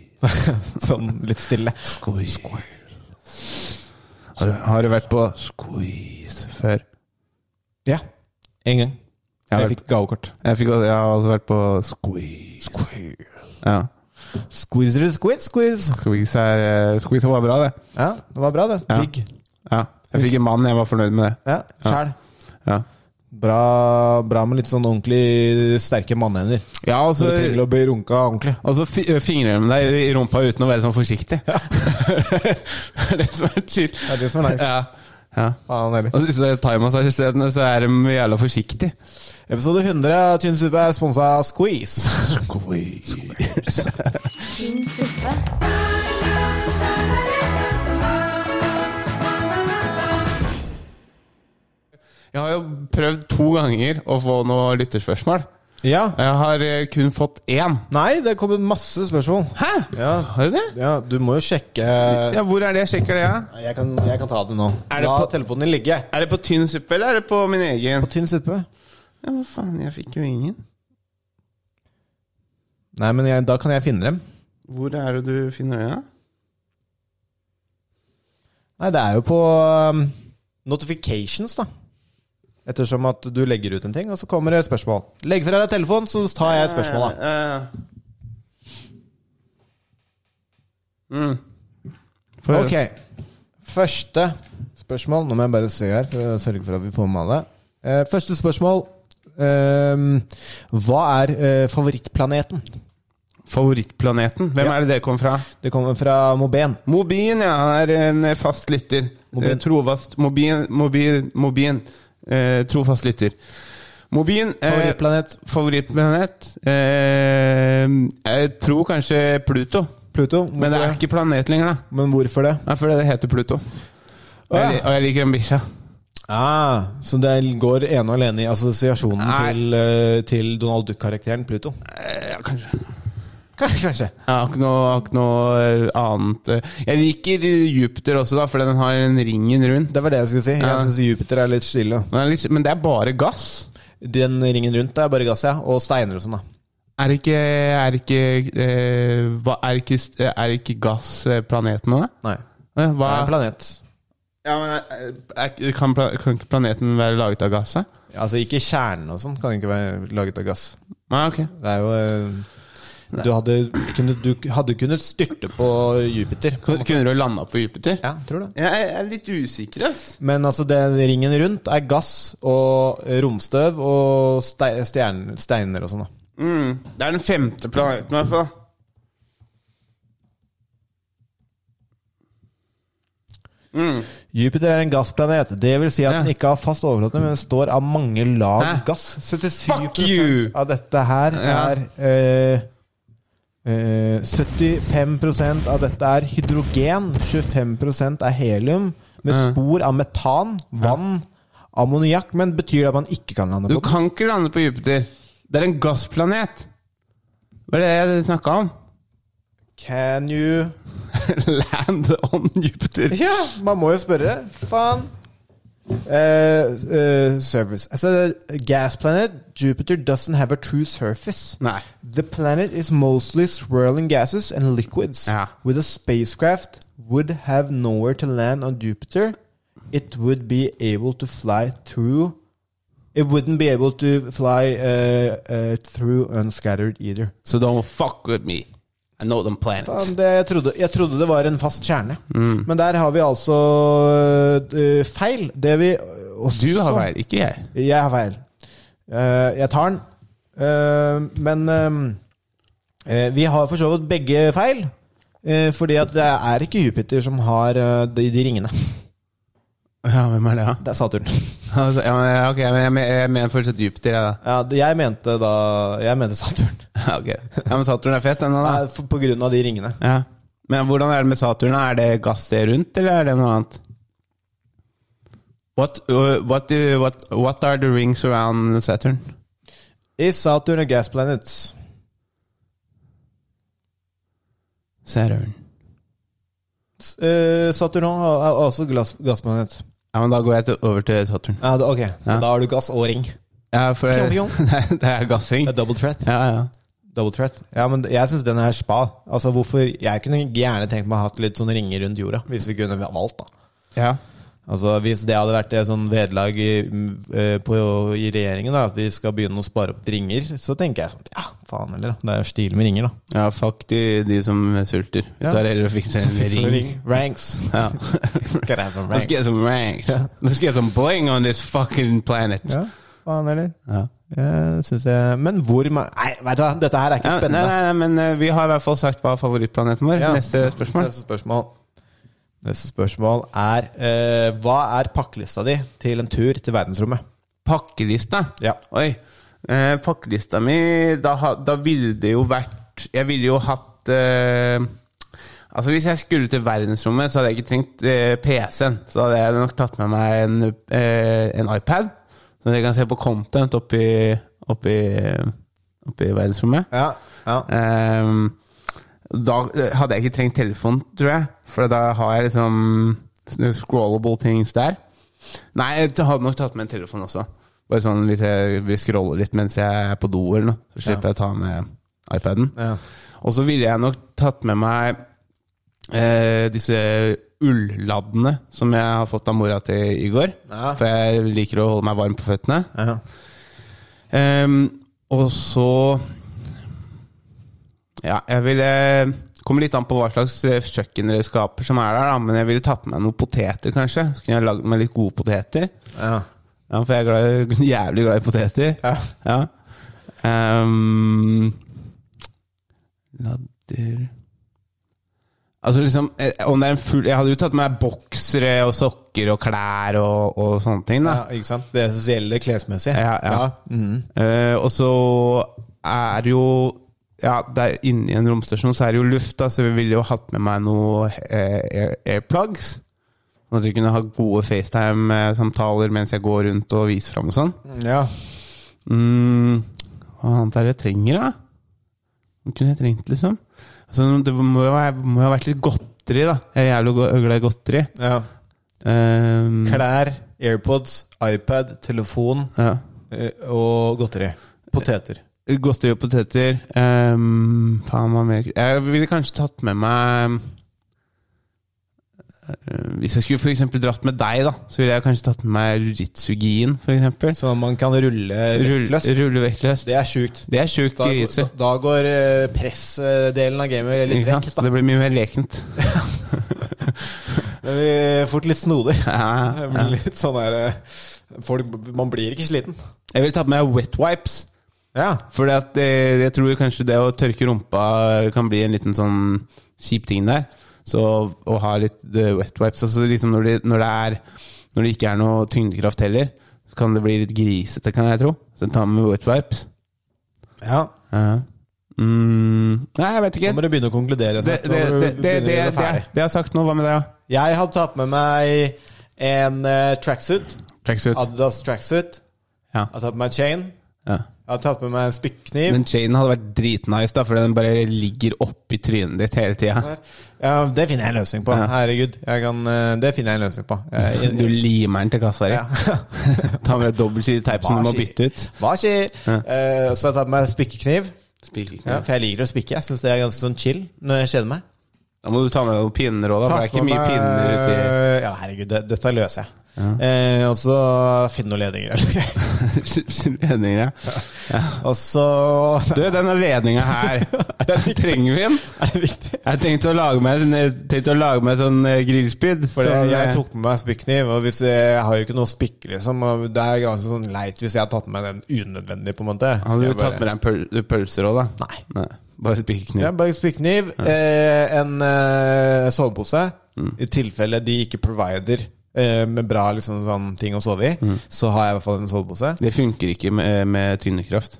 Sånn litt stille. Squeeze. Har, du, har du vært på Squeeze før? Ja. En gang. Jeg har Jeg vært- fikk gavekort. Jeg, fikk, også- jeg har også vært på Squeeze. Ja. Squeezer, squeeze, squeeze. Squeeze, er, eh, squeeze var bra, det. Ja, det var bra, det. Ja. Digg. Ja. Jeg fikk en mann, jeg var fornøyd med det. Ja, sjæl. Ja, Bra, bra med litt sånn ordentlig sterke mannhender. ja og Så så du trenger å bli runka ordentlig. og så fi- fingrer de deg i rumpa uten å være sånn forsiktig. det er det som er chill. Det er det som er nice. Ja. ja. Faen heller. Og så thaimassasjestedene, så er de jævla forsiktige. Episode 100 av Tynn suppe er sponsa av Squeeze. Tynn suppe. Jeg har jo prøvd to ganger å få noe lytterspørsmål. Ja. Jeg har eh, kun fått én. Nei, det kommer masse spørsmål. Hæ? Ja. Har du det? Ja, du må jo sjekke Ja, hvor er det? Jeg sjekker det, ja. Jeg kan, jeg kan ta det nå. Er det La på- telefonen din ligge. Er det på tynn suppe, eller er det på min egen? På tynn suppe? Ja, men faen, jeg fikk jo ingen. Nei, men jeg, da kan jeg finne dem. Hvor er det du finner det? da? Nei, det er jo på um, notifications, da. Ettersom at du legger ut en ting, og så kommer det et spørsmål. Legg fra deg telefonen, så tar jeg spørsmålet. Eh. Mm. Få høre. Ok. Første spørsmål Nå må jeg bare se her, for å sørge for at vi får med alle. Eh, første spørsmål. Ehm, hva er eh, favorittplaneten? Favorittplaneten? Hvem Ja. er det det kom fra? Det kommer fra Moben. Mobien, ja. Er en eh, fast lytter. Mobien. Eh, Trofast Mobien, Mobien, Mobien. Eh, trofast lytter. Mobien eh, Favorittplanet Favorittplanet? Eh, jeg tror kanskje Pluto. Pluto. Men det er Hvorfor det? ikke planet lenger, da. Men hvorfor det? Nei, fordi det heter Pluto. Og jeg, Å, og jeg liker den bikkja. Ah, så det går ene og alene i assosiasjonen Nei. til, eh, til Donald Duck-karakteren Pluto? Ja, kanskje. Kanskje, kanskje. Jeg har ikke noe, har ikke noe eh, annet eh. Jeg liker eh, Jupiter også, da, fordi den har den ringen rundt. Det var det jeg skulle si. Jeg Ja. synes Jupiter er litt stille. Den er litt, men det er bare gass. Den ringen rundt er bare gass, ja. Og steiner og sånn, da. Er ikke, er ikke, eh, hva, er ikke, er ikke gass eh, planeten nå, da? Nei. Eh, Hva, Det er en planet. ja, men, eh, er, er, kan, pla- kan ikke planeten være laget av gass? da? Altså, ikke kjernen og sånn kan ikke være laget av gass. Nei, ok. Det er jo eh, Du hadde kunnet, du hadde kunnet styrte på Jupiter. på en måte. Kunne du landa på Jupiter? Ja, tror det. Jeg er litt usikker, ass. Men altså, den ringen rundt er gass og romstøv og ste stjern- steiner og sånn, da. Mm, det er den femte planeten, i hvert fall. Jupiter er en gassplanet. Det vil si at den Ja. ikke har fast overflate, men består av mange lag Hæ? gass. 77 Fuck you! av dette her Ja. er eh, eh, 75 av dette er hydrogen, 25 er helium, med Ja. spor av metan, vann, ammoniakk. Men betyr det at man ikke kan lande Du på den? kan ikke lande på Jupiter. Det er en gassplanet. Hva er det jeg snakka om? Can you Land on Jupiter. Ja, man må jo spørre. Faen. Eh, eh, surface. Altså, gas planet Jupiter doesn't have a true surface. Nei. The planet is mostly swirling gases and liquids. Ja. With a spacecraft would have nowhere to land on Jupiter. It would be able to fly through It wouldn't be able to fly uh, uh, through unscattered either. So don't fuck with me. I know them plans. Faen, det, jeg, trodde, jeg trodde det var en fast kjerne. Mm. Men der har vi altså eh, feil. Det vi også Du har vært, ikke jeg. Jeg har feil. Eh, jeg tar den. Eh, men eh, eh, vi har for så vidt begge feil. eh, fordi at det er ikke Jupiter som har eh, de, de ringene. Ja, hvem er det, da? Det er Saturn. Altså, ja, men, ok, men jeg, men- jeg mener fortsatt Jupiter, jeg, da. Ja, det- jeg mente da Jeg mente Saturn. Ja, ok. ja, men Saturn er fet, den da. Nei, for, på grunn av de ringene. Ja. Men hvordan er det med Saturn? da? Er det gass det rundt, eller er det noe annet? What, uh, what, do- what, what are the rings around Saturn? Is Saturn a gas planet? Saturn. S- eh, Saturn er er også glass, gassplanet. Ja, men da går jeg til, over til Saturn. Ja, da, ok, Ja. da har du gass og ring. Ja, for Fjong, fjong. Nei, det er gassring. Det er double threat. Ja, ja. Double threat. Ja, men jeg syns den er spa. Altså, hvorfor Jeg kunne gjerne tenkt meg å ha hatt litt sånne ringer rundt jorda, hvis vi kunne valgt, da. ja. Altså, Hvis det hadde vært et sånn vederlag i, eh, på- i regjeringen, da, at vi skal begynne å spare opp ringer, så tenker jeg sånn Ja, faen heller, da. Det er jo stilig med ringer, da. Ja, fuck de, de som sulter. Vi Ja. tar heller og fikser en ring. Ranks. Ja. Gotta have a Let's rank. get some ranks. Let's get some bling on this fucking planet. Ja, faen heller. Ja. Jeg synes jeg Men hvor ma- Nei, vet du hva, dette her er ikke Ja, nei, spennende. nei, nei, men eh, vi har i hvert fall sagt hva favorittplaneten vår Ja. Neste spørsmål. Neste spørsmål. Neste spørsmål er eh, Hva er pakkelista di til en tur til verdensrommet? Pakkelista. Ja. Oi. Eh, pakkelista mi da, ha- da ville det jo vært Jeg ville jo hatt eh, Altså Hvis jeg skulle til verdensrommet, så hadde jeg ikke trengt eh, PC-en. Så hadde jeg nok tatt med meg en, eh, en iPad, så jeg kan se på content oppi, oppi, oppi verdensrommet. Ja, ja. Ehm, da eh, hadde jeg ikke trengt telefon, tror jeg. For da har jeg liksom sånne scrollable things der. Nei, jeg hadde nok tatt med en telefon også. Bare sånn hvis jeg vil scrolle litt mens jeg er på do, eller noe, så slipper jeg å ta med iPaden. Ja. Og så ville jeg nok tatt med meg eh, disse ulladdene som jeg har fått av mora til i går. Ja. For jeg liker å holde meg varm på føttene. ja. Ehm, og så Ja, jeg ville Kommer litt an på hva slags eh, kjøkkenredskaper som er der, da, men jeg ville tatt med noen poteter, kanskje. Så kunne jeg lagd meg litt gode poteter. ja. Ja, For jeg er glad, i- jævlig glad i poteter. Ja. Ehm, ladder Altså liksom eh, om det er en full, Jeg hadde jo tatt med meg boksere og sokker og klær og, og sånne ting. da ja ikke sant? Det essensielle klesmessig. Ja, ja. Eh, og så er det jo Ja, der inne i en romstasjon så er det jo luft, da, så vi ville jo hatt med meg noe eh, air- airplugs. Sånn at vi kunne ha gode FaceTime-samtaler mens jeg går rundt og viser fram og sånn. ja. Mm, hva annet er det jeg trenger, da? Hva kunne jeg trengt, liksom? Altså, det må jo ha- må jo ha vært litt godteri, da. Jeg er jævlig go- glad i godteri. ja. Um, Klær, AirPods, iPad, telefon Ja. eh, og godteri. Poteter. Godteri og poteter. ehm, faen, hva mer Jeg ville kanskje tatt med meg eh, Hvis jeg skulle for eksempel dratt med deg, da så ville jeg kanskje tatt med meg jiu-jitsu-gien. for eksempel. Sånn at man kan rulle Rull- vektløst. Rulle vektløst. Det er sjukt. Det er sjukt Da, grise. da, da går eh, pressdelen av gamet litt Ikke vekk. sant? Det blir mye mer lekent. Det blir fort litt snodig. Ja, Det ja. blir litt sånn der eh, folk, Man blir ikke sliten. Jeg ville tatt med meg wet wipes. Ja. For jeg tror kanskje det å tørke rumpa kan bli en liten sånn kjip ting der. Så å ha litt eh, wet wipes altså liksom når, det, når, det er, når det ikke er noe tyngdekraft heller, så kan det bli litt grisete, kan jeg tro. Så ta med wet wipes. ja. Ja. Mm, nei, jeg vet Nå ikke. må du begynne å konkludere. Det, snart. det, Nå må du det, det, det, begynne å det, gjøre deg ferdig. jeg har sagt nå, hva med det? da? Jeg har tatt med meg en eh, tracksuit. Tracksuit. Adidas tracksuit. Ja. Jeg har tatt med meg chain. Ja. Jeg har tatt med meg en spikkniv. Den chainen hadde vært dritnice, da, for den bare ligger oppi trynet ditt hele tida. Ja, det finner jeg en løsning på. Ja. Herregud. Jeg kan, eh, det finner jeg en løsning på. Jeg, Du limer den til kassa di. Ja. Ta med deg dobbeltsidig teip som du må Hva skjer? bytte ut. Hva skjer? Ja. Eh, så jeg har tatt med meg spikkekniv. Spikerkniv. Ja, for jeg liker å spikke. Jeg syns det er ganske sånn chill når jeg kjeder meg. Da må du ta med deg noen pinner òg, da. For det er Tatt ikke med mye meg- pinner uti Ja, herregud, det, dette løser jeg. Eh, og så finn noen ledninger eller greier. Ledninger, ja. Og så Du, denne ledninga her, trenger vi den? Er det viktig? Jeg tenkte å lage meg, en- jeg tenkte å lage meg sånn eh, grillspyd. For sånn, eh, jeg tok med meg spikkniv, og hvis jeg, jeg har jo ikke noe spikke, liksom. Og det er ganske sånn leit hvis jeg har tatt med den unødvendig, på en måte. Så Hadde du jeg bare- tatt med deg en pøl pølser òg, da? Nei. Bare spikkekniv? Ja, bare spikkniv, eh, en eh, sovepose. Mm. I tilfelle de ikke provider eh, med bra liksom, sånn, ting å sove i, Mm. så har jeg i hvert fall en sovepose. Det funker ikke med, eh, med tynnekraft.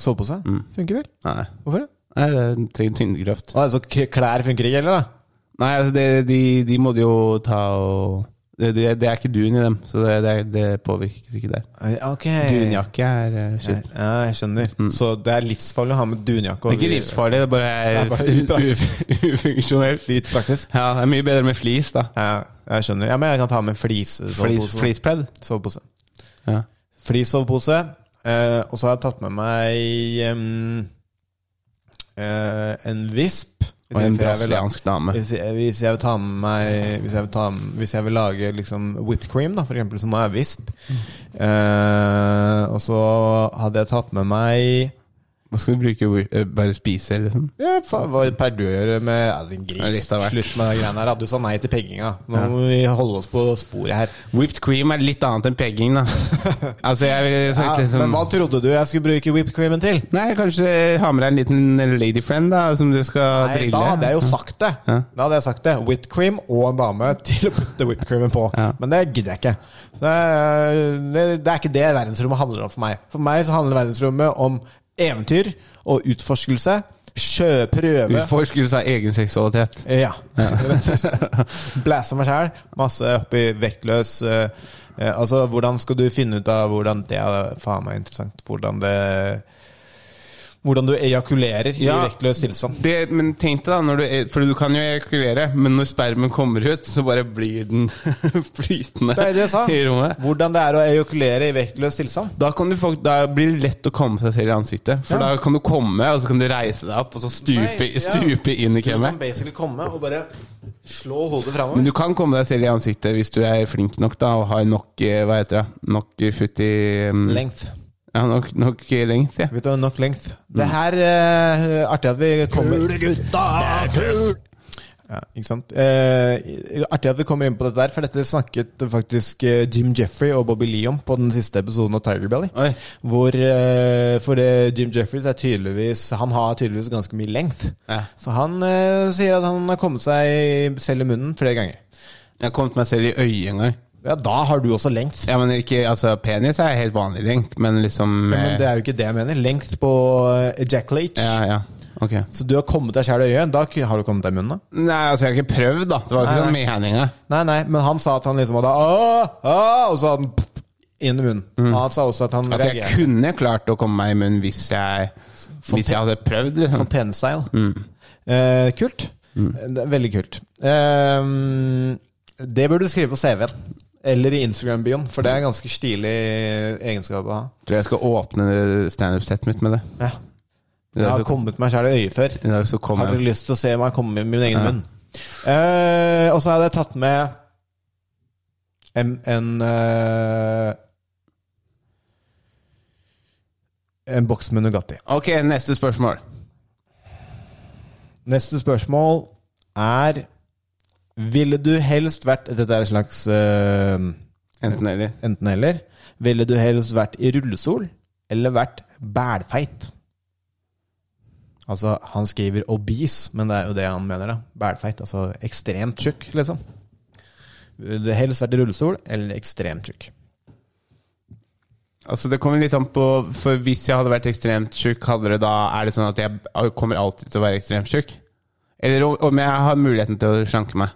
Sovepose Mm. funker vel? Nei. Hvorfor det? Nei, det trenger tynnekraft. Ah, altså, k- klær funker ikke heller, da? Nei, altså, det, de, de må du jo ta og det, det, det er ikke dun i dem, så det, det, det påvirkes ikke der. Eh, Ok. Dunjakke er eh, shit. Ja, jeg skjønner. Så det er livsfarlig å ha med dunjakke Det er ikke livsfarlig, det er Det er bare bare u- upraktisk. u- ufunksjonelt. Litt praktisk. Ja, det er mye bedre med flis, da. Ja, jeg skjønner. Ja, men jeg kan ta med sånn Flis, flis-sovepose. flispledd. Sovepose. Ja. Flisovepose. Eh, og så har jeg tatt med meg em, eh, en visp. Og en Hvis jeg vil- brasiliansk dame. Hvis jeg, hvis jeg vil ta med meg Hvis jeg vil, ta, hvis jeg vil lage liksom whipped cream, da, for eksempel, så må jeg ha visp. Eh, og så hadde jeg tatt med meg Hva skal du bruke? hvor- eh, Bare spise, liksom? ja, fa, Hva pleier du å gjøre med ja, din Ja, gris? litt av hvert. Slutt med de greiene her. da. Du sa nei til pegginga. Nå må vi holde oss på sporet her. Whipped cream er litt annet enn pegging, da. altså, jeg ville Ja, sagt liksom men hva trodde du jeg skulle bruke whipped creamen til? Nei, kanskje ha med deg en liten ladyfriend, da, som du skal Nei, drille. da hadde jeg jo sagt det. Ja. Da hadde jeg sagt det. Whipped cream og en dame til å putte whipped creamen på. Ja. Men det gidder jeg ikke. Så eh, det, det er ikke det verdensrommet handler om for meg. For meg så handler verdensrommet om eventyr og utforskelse. Sjø, prøve Utforskelse av egen seksualitet. Eh, Ja. rett og slett. Blæse meg sjæl. Masse oppi vektløs eh, eh, Altså, hvordan skal du finne ut av hvordan Det er eh, faen meg interessant. Hvordan det Hvordan du ejakulerer Ja. i vektløs tilstand. Det, men tenk deg da, når du, eh, for du kan jo ejakulere, men når spermen kommer ut, så bare blir den flytende Det er det jeg sa. i rommet. Hvordan det er å ejakulere i vektløs tilstand. Da, kan du, fakt- da blir det lett å komme seg selv i ansiktet. For Ja. da kan du komme, og så kan du reise deg opp, og så stupe, Nei, ja. stupe inn i Du kan kremet. basically komme og bare slå hodet Men framover. du kan komme deg selv i ansiktet hvis du er flink nok da, og har nok eh, hva heter det, nok eh, futt i um, Length. Ja, nok, nok eh, length, ja. Vet du, nok length. Det Mm. her eh, Artig at vi kommer ja, ikke sant? Eh, artig at vi kommer inn på dette, her for dette snakket faktisk eh, Jim Jeffrey og Bobby Lee om på den siste episoden av Tiger Belly. Oi. Hvor eh, For det, Jim Jeffries er tydeligvis Han har tydeligvis ganske mye length. Ja. Så han eh, sier at han har kommet seg selv i munnen flere ganger. Jeg har kommet meg selv i øyet en gang. Ja, da har du også length. Ja, men ikke, altså, penis er helt vanlig lengt, men liksom Men det eh, er jo ikke det jeg mener. Length på eh, ejaculate. Ja, ja, ok. Så du har kommet deg sjæl i øyet. Da ku- har du kommet deg i munnen, da? Nei, altså, jeg har ikke prøvd, da. Det var Nei, ikke sånn meninga. Nei, nei, men han sa at han liksom hadde «Åh, åh», Og så hadde han pff, inn i munnen. Og han sa også at han Altså, Mm. jeg reagerer kunne klart å komme meg i munnen hvis jeg, hvis jeg hadde prøvd, liksom. fontenestyle. Sånn Mm. Eh, kult. Det er veldig kult. Eh, det burde du skrive på CV-en. Eller i Instagram-bioen, for det er en ganske stilig egenskap å ha. Tror jeg skal åpne standup-settet mitt med det. Ja. I Jeg dag har så, kommet meg sjæl i øyet før. i dag så kom Har jeg dere lyst til å se meg komme med min egen munn? Eh, og så hadde jeg tatt med en, en eh, En boks med Nugatti. Ok, neste spørsmål. Neste spørsmål er Ville du helst vært Dette er et slags eh, Enten eller. enten-eller. Ville du helst vært i rullestol eller vært bælfeit? Altså, han skriver obese, men det er jo det han mener, da. Bælfeit. Altså ekstremt tjukk, liksom. Ville du helst vært i rullestol eller ekstremt tjukk? Altså, det kommer litt an på For hvis jeg hadde vært ekstremt tjukk, hadde det da Er det sånn at jeg kommer alltid til å være ekstremt tjukk? Eller om- om jeg har muligheten til å slanke meg?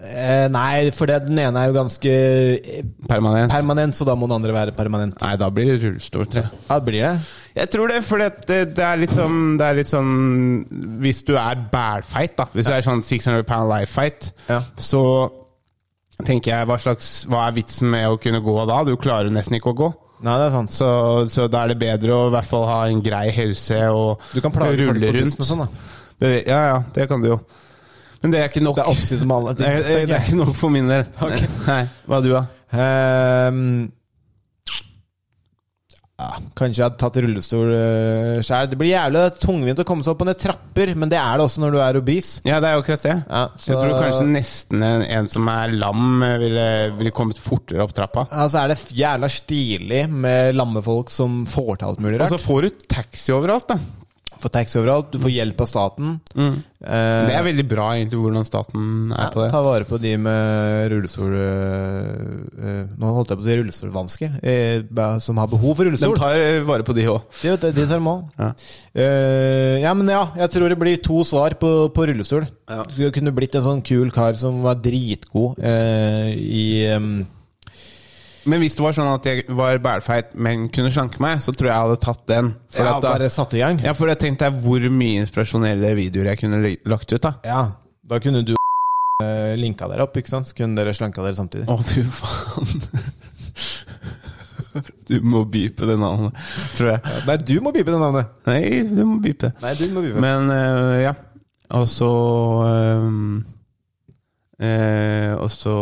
Eh, nei, for det, den ene er jo ganske eh, Permanent? permanent, så da må den andre være permanent. Nei, da blir det rullestol, tror jeg. Ja, blir det? Jeg tror det, for det, det, det, er litt sånn, det er litt sånn Hvis du er bælfeit, da Hvis du er sånn 600 pound life fight, Ja. så tenker jeg hva, slags, hva er vitsen med å kunne gå da? Du klarer jo nesten ikke å gå. Nei, det er sant. Så, så da er det bedre å i hvert fall ha en grei helse og Du kan plage folk på bussen og sånn, da. Beve- Ja, ja, det kan du jo. Men Men det er ikke nok. Det er oppsiden med alle ting. Det er, det er ikke nok for min del. Nei, hva er du, da? Ehm, ja, kanskje jeg hadde tatt rullestol uh, sjæl. Det blir jævlig tungvint å komme seg opp på ned trapper, men det er det også når du er obes. Ja, det er jo akkurat det. Ja, så- Jeg tror kanskje nesten en, en som er lam, eh, ville, ville kommet fortere opp trappa. Ja, så Altså, er det jævla stilig med lamme folk som får til alt mulig Og rart. så får du taxi overalt, da. får taxi overalt, du får hjelp av staten. Eh, Mm. Det er veldig bra, egentlig, hvordan staten er på ja, det. ta vare på de med rullestol... eh, eh, nå holdt jeg på å si rullestolvansker, eh, ba- som har behov for De rullestol. tar eh, vare på de òg. De, de, de tar dem også. Ja. Eh, ja, men ja, jeg tror det blir to svar på, på rullestol. Ja. Du skulle kunne blitt en sånn kul kar som var dritgod eh, i em, Men hvis det var sånn at jeg var bælfeit, men kunne slanke meg, så tror jeg jeg hadde tatt den. For Ja, at da, bare satt i gang. ja, for jeg tenkte jeg hvor mye inspirasjonelle videoer jeg kunne l- lagt ut, da. Ja, da kunne du eh, linka dere opp, ikke sant? Så kunne dere slanka dere samtidig. Å, fy faen. Du må beepe det navnet, tror jeg. Nei, du må bipe det navnet. Nei, du må beepe det. Nei, du må bipe. Men eh, ja. Og så eh, eh, Og så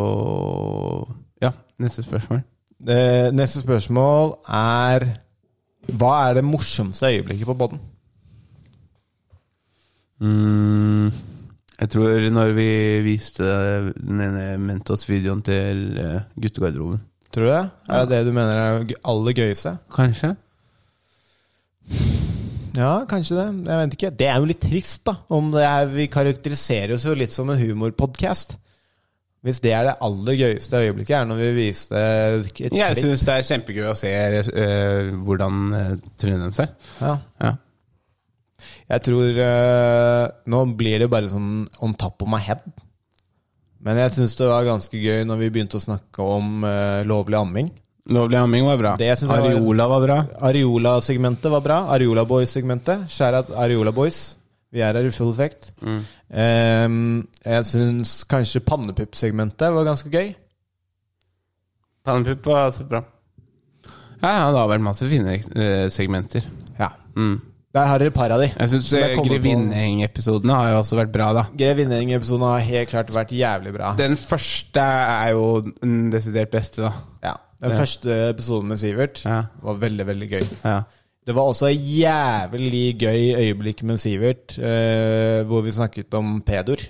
Ja, neste spørsmål. Eh, neste spørsmål er Hva er det morsomste øyeblikket på podden? Mm, jeg tror når vi viste den ene Mentos-videoen til eh, guttegarderoben Tror du det? Er det det du mener er det aller gøyeste? Kanskje? Ja, kanskje det. Jeg vet ikke. Det er jo litt trist, da. Om det er, vi karakteriserer oss jo litt som en humorpodkast. Hvis det er det aller gøyeste øyeblikket, er når vi viste et klipp. Jeg syns det er kjempegøy å se eh, hvordan uh, trynet dem seg. ja. Ja. Jeg tror eh, Nå blir det bare sånn on top of my head. Men jeg syns det var ganske gøy når vi begynte å snakke om eh, lovlig amming. Lovlig amming var bra. Det synes jeg var- Areola var bra. Areola-segmentet var bra. Areola Boys-segmentet. Skjærat Areola Boys. Vi er her i full effekt. Mm. Ehm, jeg syns kanskje pannepupp-segmentet var ganske gøy. Pannepupp var også bra. Ja, ja, det har vært masse fine eh, segmenter. Ja. Mm. Der har dere par av de. Jeg syns eh, Som jeg kommer på. Grevinneheng-episodene har jo også vært bra, da. Grevinnegjeng-episoden har helt klart vært jævlig bra. Den første er jo den desidert beste, da. ja. Den Ja. første episoden med Sivert Ja. var veldig, veldig gøy. Ja. Det var også et jævlig gøy øyeblikk med Sivert, eh, hvor vi snakket om pedoer.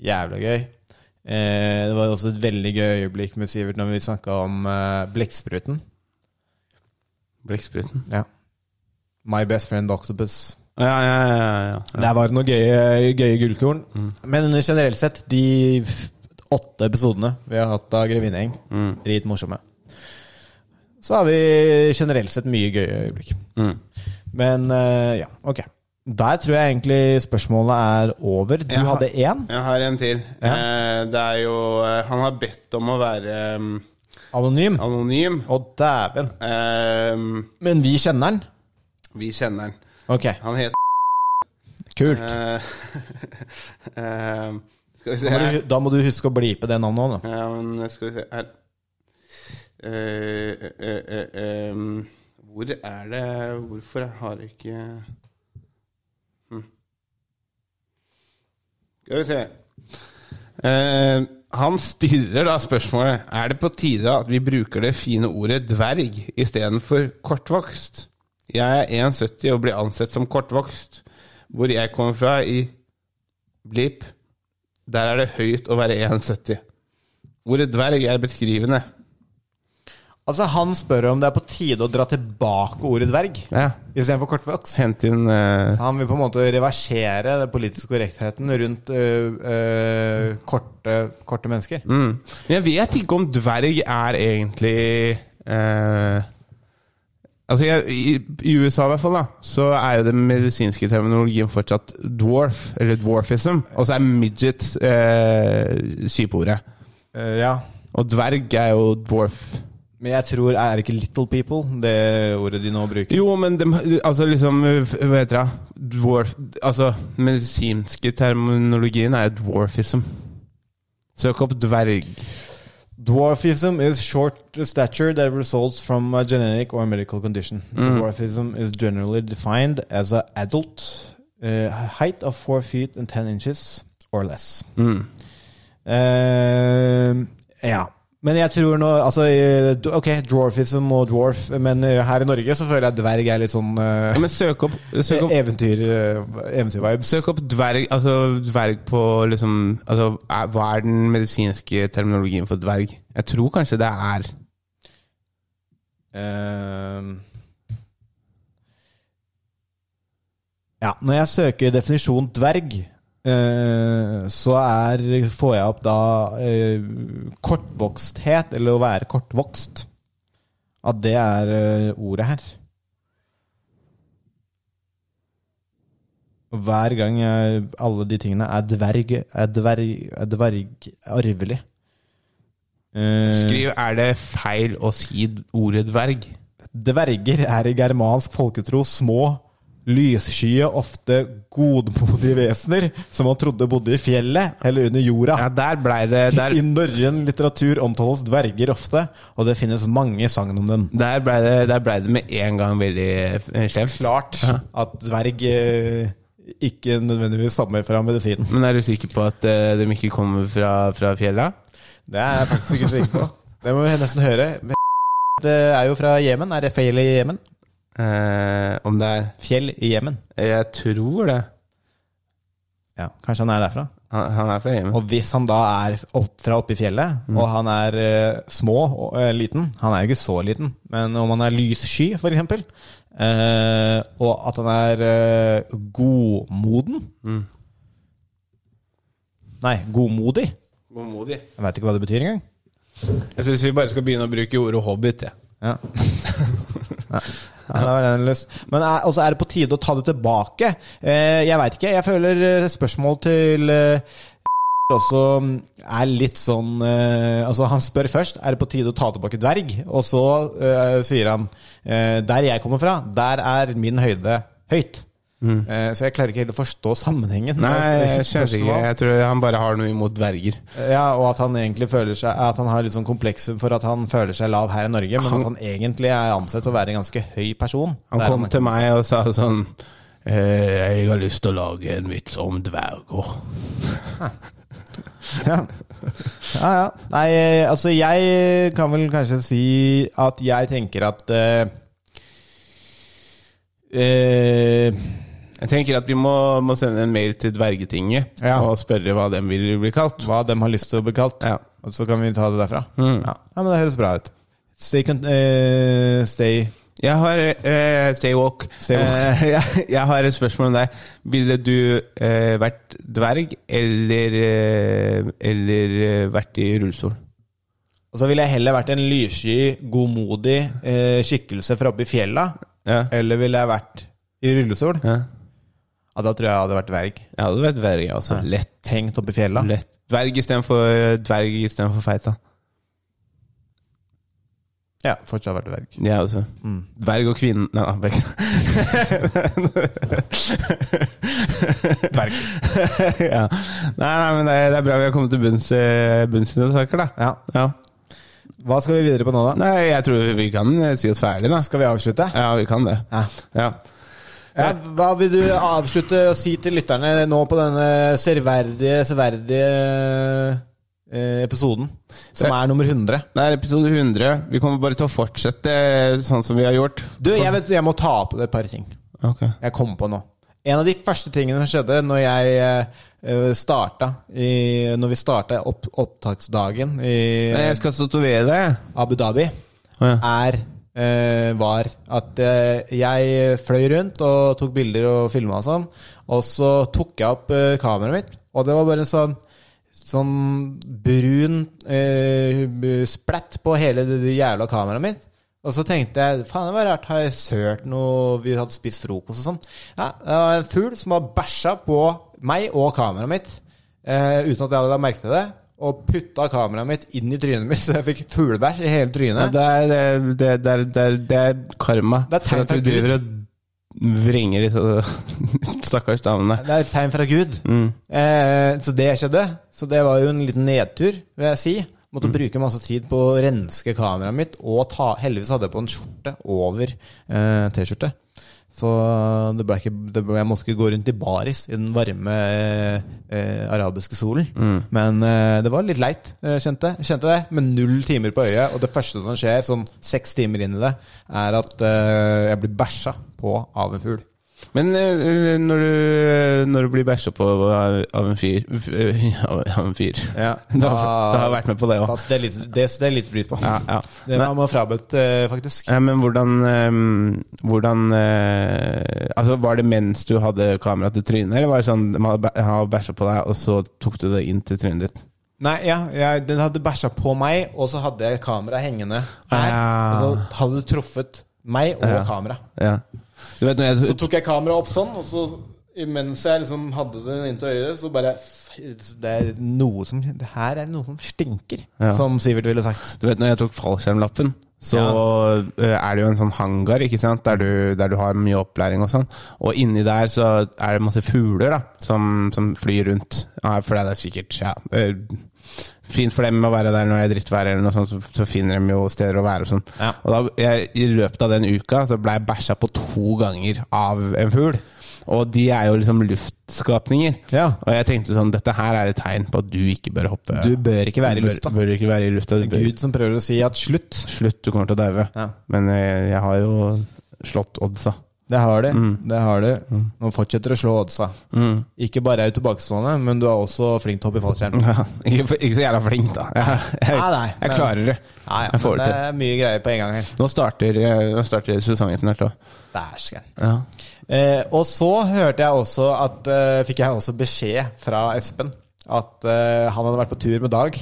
Jævlig gøy. Eh, det var også et veldig gøy øyeblikk med Sivert når vi snakka om eh, blekkspruten. Blekkspruten. Ja. My best friend octopus. Ja, ja, ja. ja, ja. Der var det noen gøye, gøye gullkorn. Men generelt sett, de f- åtte episodene vi har hatt av Grevinnegjeng, dritmorsomme. Så har vi generelt sett mye gøye øyeblikk. Mm. Men eh, ja, ok. Der tror jeg egentlig spørsmålet er over. Du Jeg har- hadde én Jeg har en til. Ja. Eh, det er jo eh, Han har bedt om å være eh, anonym. anonym. Å, dæven. Eh, Men vi kjenner den. vi kjenner han. Ok, Han heter kult. eh, eh, Skal vi se Da må her. du, da må du huske å blipe det navnet òg, da. Ja, men skal vi se her Eh, eh, eh, eh, Hvor er det Hvorfor har jeg ikke hm. Skal vi se Eh, Han stiller da spørsmålet Er det på tide at vi bruker det fine ordet dverg i stedet for kortvokst? Jeg er 1,70 og blir ansett som kortvokst Hvor jeg kommer fra i Blip Der er det høyt å være 1,70 Ordet dverg er beskrivende. Altså, han spør om det er på tide å dra tilbake ordet dverg Ja. istedenfor kortvokst. Hent inn eh, Han vil på en måte reversere den politiske korrektheten rundt øh, øh, korte, korte mennesker. mm. Jeg vet ikke om dverg er egentlig eh, Altså jeg, i, I USA i hvert fall da så er jo den medisinske terminologien fortsatt dwarf, eller dwarfism. Og så er midget eh, sypeordet. Eh, ja. Og dverg er jo dwarf. Men jeg tror Er det ikke 'little people', det ordet de nå bruker? Jo, men dem, altså liksom Hva heter det? Dwarf Altså, medisinske terminologien er jo dwarfism. Søk opp dverg. Dwarfism is short stature that results from a genetic or medical condition. Mm. Dwarfism is generally defined as an adult uh, height of 4 feet and 10 inches or less. Mm. Eh, ja. Men jeg tror nå altså, eh, d- Ok, dwarfism og dwarf, men eh, her i Norge så føler jeg dverg er litt sånn eh, Ja, men søk opp, søk opp, eventyr, eh, eventyr-vibes. søk opp dverg, altså dverg på liksom altså, er, Hva er den medisinske terminologien for dverg? Jeg tror kanskje det er Ehm. Ja, når jeg søker definisjon dverg, eh, så er, får jeg opp da eh, kortvoksthet, eller å være kortvokst. At det er eh, ordet her. Og Hver gang jeg, alle de tingene er dverg, er dverg, er dverg arvelig. Eh, Skriv er det feil å si ordet dverg. Dverger er i germansk folketro små, lysskye, ofte godmodige vesener som man trodde bodde i fjellet eller under jorda. Ja, der blei det der, I norrøn litteratur omtales dverger ofte, og det finnes mange sagn om dem. der blei det, der ble det med en gang veldig eh, skjevt. Klart at dverg eh, ikke nødvendigvis stammer fra medisinen. Men er du sikker på at eh, de ikke kommer fra, fra fjella? Det er jeg faktisk ikke sikker på. Det må vi nesten høre. Det er jo fra Jemen. Er det fjell i Jemen? Eh, om det er Fjell i Jemen. Jeg tror det. Ja, kanskje han er derfra? Han, han er fra hjemme. Og hvis han da er opp fra oppe i fjellet, og han er eh, små og eh, liten Han er jo ikke så liten, men om han er lyssky, for eksempel, eh, og at han er eh, godmoden Nei, godmodig. Godmodig. Jeg veit ikke hva det betyr engang. Jeg syns vi bare skal begynne å bruke ordet hobbit. Ja. Ja. Ja, da var den løs. Men er, også er det på tide å ta det tilbake. Eh, jeg veit ikke. Jeg føler eh, spørsmål til eh, også mm, er litt sånn eh, Altså, han spør først er det på tide å ta tilbake dverg, og så eh, sier han eh, der jeg kommer fra, der er min høyde høyt. Eh, så jeg klarer ikke helt å forstå sammenhengen. Mm. Altså, Nei, jeg Spørsmål. skjønner Altså, ikke. Jeg tror han bare har noe imot dverger. Ja, og at han egentlig føler seg At han har litt sånn komplekser for at han føler seg lav her i Norge, men at han egentlig er ansett å være en ganske høy person. Han Der kom til meg og sa sånn eh, 'Jeg har lyst til å lage en vits om dverger'. Ja. ja, ja. Nei, eh, altså jeg kan vel kanskje si at jeg tenker at eh, eh, Jeg tenker at vi må, må sende en mail til Dvergetinget Ja. og spørre hva den vil bli kalt. Hva de har lyst til å bli kalt. Ja. Mm. Og så kan vi ta det derfra. Ja. ja, men det høres bra ut. Stay, con eh, stay Jeg har eh, Stay woke. Stay woke. Eh, jeg, jeg har et spørsmål om deg. Ville du eh, vært dverg eller, eh, eller eh, vært i rullestol? Og så ville jeg heller vært en lyssky, godmodig eh, skikkelse fra oppe i fjella. Ja. Eller ville jeg vært i rullestol? Ja. Ja, da tror jeg jeg hadde vært dverg. Jeg hadde vært dverg, altså. Lett. Hengt oppe i fjella. Lett. Dverg istedenfor dverg istedenfor feita. Ja, fortsatt vært dverg. Jeg også. Mm. Dverg altså. og kvinne Nei da, begge. Dverg. ja. Nei, nei, men det er, det er bra vi har kommet til bunns, eh, bunns i noen saker, da. Ja. Hva skal vi videre på nå, da? Nei, jeg tror vi kan eh, si oss ferdig, da. Skal vi avslutte? Ja, vi kan det. Ja. Ja. Ja, hva vil du avslutte og si til lytterne nå på denne serverdige, severdige eh, episoden? Som er nummer 100. Det er episode 100. Vi kommer bare til å fortsette sånn som vi har gjort. Du, jeg, vet, jeg må ta opp et par ting. Ok. jeg kom på nå. En av de første tingene som skjedde når jeg eh, starta i, Når vi starta opp, opptaksdagen i Nei, Jeg skal tatovere deg. Abu Dhabi, Å, er eh, var at eh, jeg fløy rundt og tok bilder og filma og sånn. Og så tok jeg opp eh, kameraet mitt, og det var bare en sånn Sånn brun eh, b- splett på hele det, det jævla kameraet mitt. Og så tenkte jeg faen det var rart, har jeg sølt noe Vi hadde spist frokost og sånn. Ja, det var en fugl som har bæsja på meg og kameraet mitt eh, uten at jeg hadde lagt merke til det. Og putta kameraet mitt inn i trynet mitt, så jeg fikk fuglebæsj i hele trynet. Ja, det, er, det, er, det, er, det, er, det er karma. Det er tegn for at fra du Gud. driver og vringer disse stakkars damene. Det er et tegn fra Gud. Eh, så det skjedde. Så det var jo en liten nedtur, vil jeg si. Måtte bruke masse tid på å renske kameraet mitt, og ta, heldigvis hadde jeg på en skjorte over eh, T-skjorte. Så det ble ikke, det ble, jeg måtte ikke gå rundt i baris i den varme eh, eh, arabiske solen. Men eh, det var litt leit, eh, kjente, kjente det. Med null timer på øyet. Og det første som skjer, sånn seks timer inn i det, er at eh, jeg blir bæsja på av en fugl. Men eh, når, du, når du blir bæsja på av av en fyr f- eh, Av av en fyr. Da, Ah. da har jeg vært med på det òg. Da- Det er litt, det, det er litt pris på. Ja, ja. Det var man frabedt, eh, faktisk. Ja, men hvordan, ehm, hvordan eh, Altså, Var det mens du hadde kamera til trynet, eller var det sånn man hadde bæ- han hadde bæsja på deg, og så tok du det inn til trynet ditt? Nei, ja, jeg, den hadde bæsja på meg, og så hadde jeg kamera hengende her. Ja. Og så hadde du truffet meg og Ja. kamera. Ja. Du vet når Så jeg tok jeg kameraet opp sånn, og så mens jeg liksom hadde den inntil øyet, så bare f- Det er noe som det Her er det noe som stinker, Ja. som Sivert ville sagt. Du vet når jeg tok fallskjermlappen, så eh, er det jo en sånn hangar ikke sant? Der, du, der du har mye opplæring og sånn. Og inni der så er det masse fugler da, som, som flyr rundt. Ja, for det er sikkert ja, eh, fint for dem å være der når det er drittvær, eller noe sånt, så, så finner de jo steder å være. Og sånn. Ja. Og da, jeg, I løpet av den uka så ble jeg bæsja på to ganger av en fugl. Og de er jo liksom luftskapninger. Ja. Og jeg tenkte sånn, dette her er et tegn på at du ikke bør hoppe. Du bør ikke være i bør- lufta. Bør ikke være i lufta. Du Det er bør- Gud som prøver å si at slutt. Slutt, du kommer til å daue. Ja. Men eh, jeg har jo slått oddsa. Det har de. Det har de. Nå fortsetter å slå oddsa. Ikke bare er du tilbakestående, men du er også flink til å hoppe i fallskjerm. ikke, for- ikke så jævla flink, da. Jeg, jeg, Nei, nei, jeg men- klarer det. Ja, ja, jeg får men det det til. er mye greier på en gang her. eh, Nå starter, eh, nå starter sesongen snart òg. Dæsken. Ja. Eh, og så hørte jeg også at eh, Fikk jeg også beskjed fra Espen at eh, han hadde vært på tur med Dag.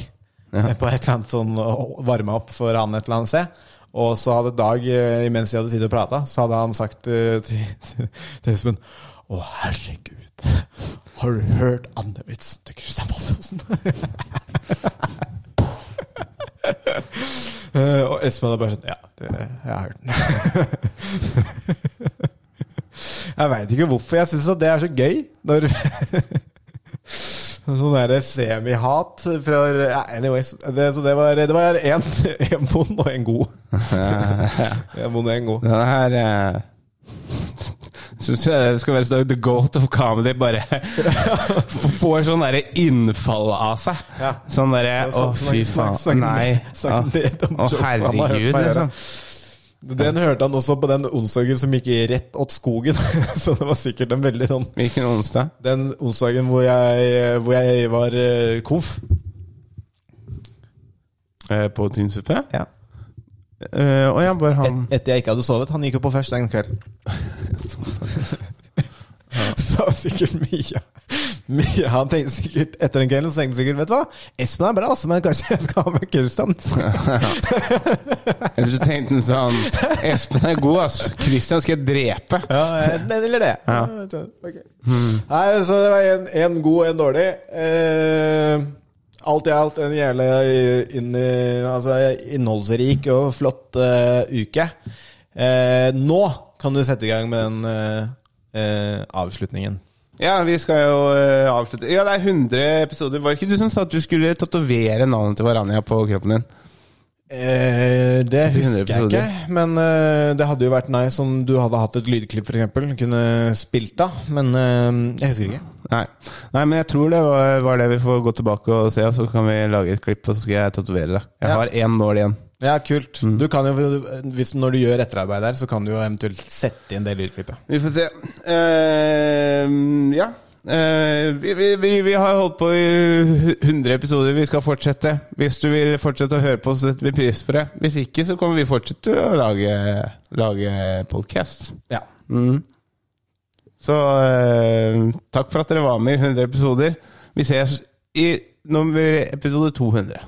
eh, På et eller annet sånn å varme opp for han et eller annet sted. Og så hadde Dag, eh, mens de hadde sittet og prata, så hadde han sagt eh, til, til, til Espen Å, herregud. Har du hørt andevitsen til Christian Baltosen? Eh, og Espen hadde bare sånn Ja, det, jeg har hørt den. Jeg veit ikke hvorfor jeg syns det er så gøy. Når Sånn derre semihat fra ja, Anyways. Det, så det var Det var én vond og en god. En vond og en god. Det her eh, Syns jeg det skal være sånn the goat of comedy bare får sånn derre innfall av seg. Ja. Sånn derre Å, Snakk- fy snakk- faen. snakk- Nei. Å, snakk ned om jokes han har hørt herregud, meg gjøre. liksom. Den hørte han også på den onsdagen som gikk rett åt skogen. Så det var sikkert en veldig sånn Hvilken onsdag? Den onsdagen hvor jeg, hvor jeg var eh, konf. Eh, På Tynnsuppe? Ja. Eh, og jeg bare han Et, etter jeg ikke hadde sovet. Han gikk jo på først den kvelden. Sa sikkert Mia. Mia han tenkte sikkert Etter den kvelden så tenkte han sikkert Vet du hva, Espen er bra, altså, men kanskje jeg skal ha med Kristian. Eller så tenkte han sånn Espen er god, ass. Christian skal jeg drepe. Ja, den eller det. Ok. Nei, så det var en, en god og en dårlig. Eh, alt i alt en jævlig inn, altså, innholdsrik og flott eh, uke. Eh, nå kan du sette i gang med den eh, eh, avslutningen. Ja, vi skal jo eh, avslutte. Ja, det er 100 episoder. Var det ikke du som sa at du skulle tatovere navnet til Varania på kroppen din? Eh, det Til 100 husker jeg ikke, men eh, det hadde jo vært nice om du hadde hatt et lydklipp, f.eks. Kunne spilt av, men eh, jeg husker ikke. Nei. Nei, men jeg tror det var, var det vi får gå tilbake og se, og så kan vi lage et klipp, og så skal jeg tatovere deg. Jeg Ja. har én nål igjen. Ja, kult. Du kan jo, hvis, når du gjør etterarbeid der, så kan du jo eventuelt sette inn det lydklippet. Vi får se. Eh, ja. Eh, vi, vi, vi, vi har holdt på i 100 episoder. Vi skal fortsette. Hvis du vil fortsette å høre på, så setter vi pris på det. Hvis ikke, så kommer vi fortsette å lage, lage podcast. Ja. Mm. Så eh, takk for at dere var med i 100 episoder. Vi ses i nummer episode 200.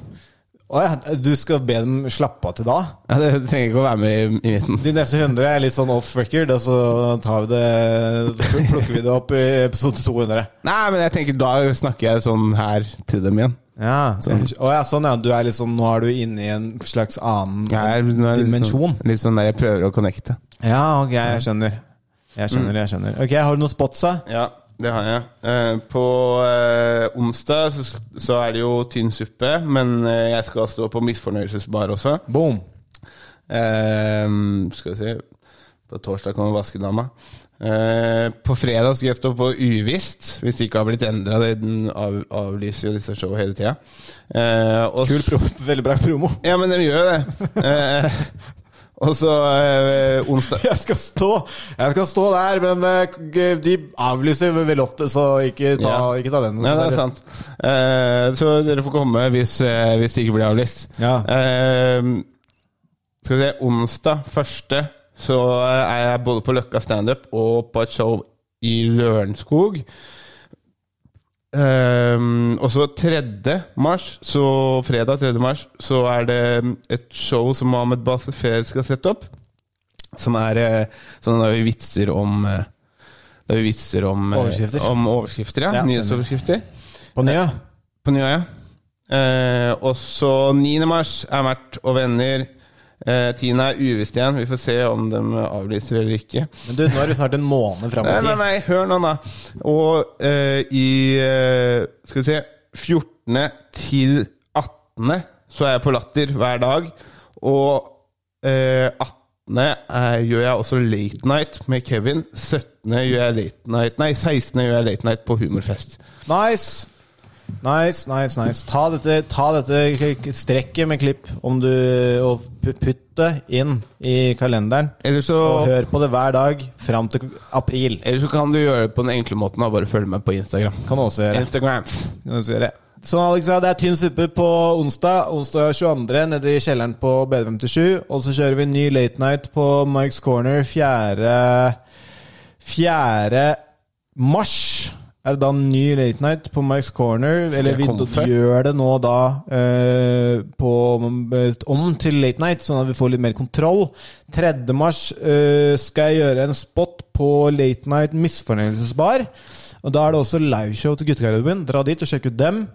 Å ja, du skal be dem slappe av til da? Ja, Dere trenger ikke å være med i, i midten. De neste 100 er litt sånn off record, og så tar vi det, plukker vi det opp i episode 200. Nei, men jeg tenker da snakker jeg sånn her til dem igjen. Ja, sånn. Å ja, sånn ja. Du er liksom, nå er du inne i en slags annen Jeg er, nå er jeg dimensjon. Litt sånn, litt sånn der jeg prøver å connecte. liksom- Ja, ok, jeg skjønner. Jeg skjønner, jeg skjønner. Ok, Har du noen spots, da? Ja, det har jeg. Eh, På eh, onsdag så, så er det jo tynn suppe, men eh, jeg skal stå på misfornøyelsesbar også. Boom! Eh, skal vi se På torsdag kommer vaskedama. Eh, på fredag skal jeg stå på Uvisst, hvis det ikke har blitt endra. Den av, avlyser jo disse show hele tida. Eh, og Kul s- promo. Veldig bra promo. Ja, men de gjør jo det. Eh, og så eh, onsdag Jeg skal stå Jeg skal stå der, men eh, k- de avlyser vel ofte, så ikke ta, Ja. ikke ta den. Ja, det er sant. Eh, så dere får komme hvis, eh, hvis det ikke blir avlyst. Ja. Eh, skal vi se, onsdag første så eh, er jeg både på Løkka standup og på et show i Lørenskog. Eh, og så 3. mars, så fredag 3. mars, så er det et show som Mohammed Basefer skal sette opp. Som er eh, sånn da vi vitser om eh, Da vi vitser om eh, Overskrifter. Om overskrifter, ja. Ja, stemmer. Nyhetsoverskrifter. På nye? På Nyøya. Eh, og så 9. mars er Mert og venner. Eh, 10. er uvisst igjen. Vi får se om de avlyser eller ikke. Men du, nå er det snart en måned fram i Nei, nei, tid. nei, hør nå, da. Og eh, i eh, Skal vi se 14. til 18. så er jeg på Latter hver dag. Og eh, 18. Er, gjør jeg også Late Night med Kevin. 17. gjør jeg Late Night Nei, 16. gjør jeg Late Night på Humorfest. Nice! Nice, nice, nice. Ta dette, ta dette k- k- strekket med klipp om du, og pu- putt det inn i kalenderen. Eller så Og hør på det hver dag fram til april. Eller så kan du gjøre det på den enkle måten og bare følge meg på Instagram. Kan du også gjøre. Instagram. Kan du gjøre. Som Alex sa, det er tynn suppe på onsdag. Onsdag 22. nede i kjelleren på B57. Og så kjører vi ny late night på Mike's Corner 4. 4. mars. Er det da en ny late night på Mike's Corner? Eller vi komme før? gjør det nå da eh, på, eh, om til late night, sånn at vi får litt mer kontroll. 3. mars eh, skal jeg gjøre en spot på Late Night Misfornøyelsesbar. Og da er det også liveshow til Guttegarderoben. Dra dit og sjekk ut dem.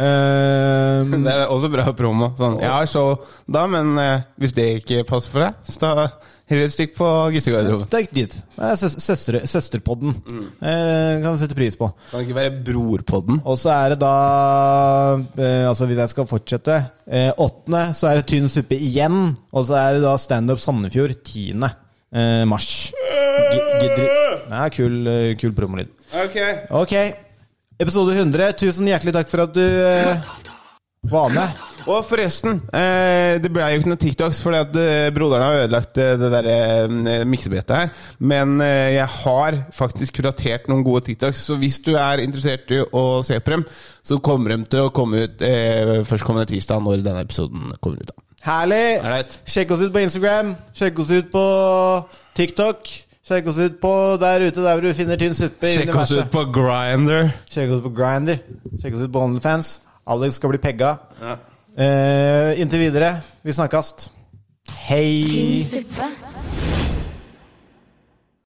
Det Eh, er også bra promo. Sånn, jeg har show da, men eh, hvis det ikke passer for deg, så da heller stikk på guttegarderoben. Mm. Stikk dit. Det er søs- søstre- Søsterpodden. Eh, kan vi sette pris på. Kan det ikke være Brorpodden? Og så er det da eh, Altså hvis jeg skal fortsette eh, Åttende så er det tynn suppe igjen Og så er det da stand-up Sandefjord 10. Eh, mars Gi- gidder- Nei, kul, eh, kul promolyd Ok. Ok, episode 100 Tusen hjertelig takk for at du eh, var med Og forresten, eh, det ble jo ikke noen TikToks, fordi at eh, broderen har ødelagt eh, det derre eh, miksebrettet her. Men eh, jeg har faktisk kuratert noen gode TikToks, så hvis du er interessert i å se på dem, så kommer de til å komme ut eh, førstkommende tirsdag, når denne episoden kommer ut. da. Herlig Alright. Sjekk oss ut på Instagram Sjekk oss ut på TikTok Sjekk oss ut på der ute der hvor du finner tynn suppe i Sjekk oss universet. ut på Grinder. Sjekk oss på Grindr. Sjekk oss ut på OnlyFans. Alex skal bli pegga. Eh, inntil videre, vi snakkast. Hei! Tynn suppe.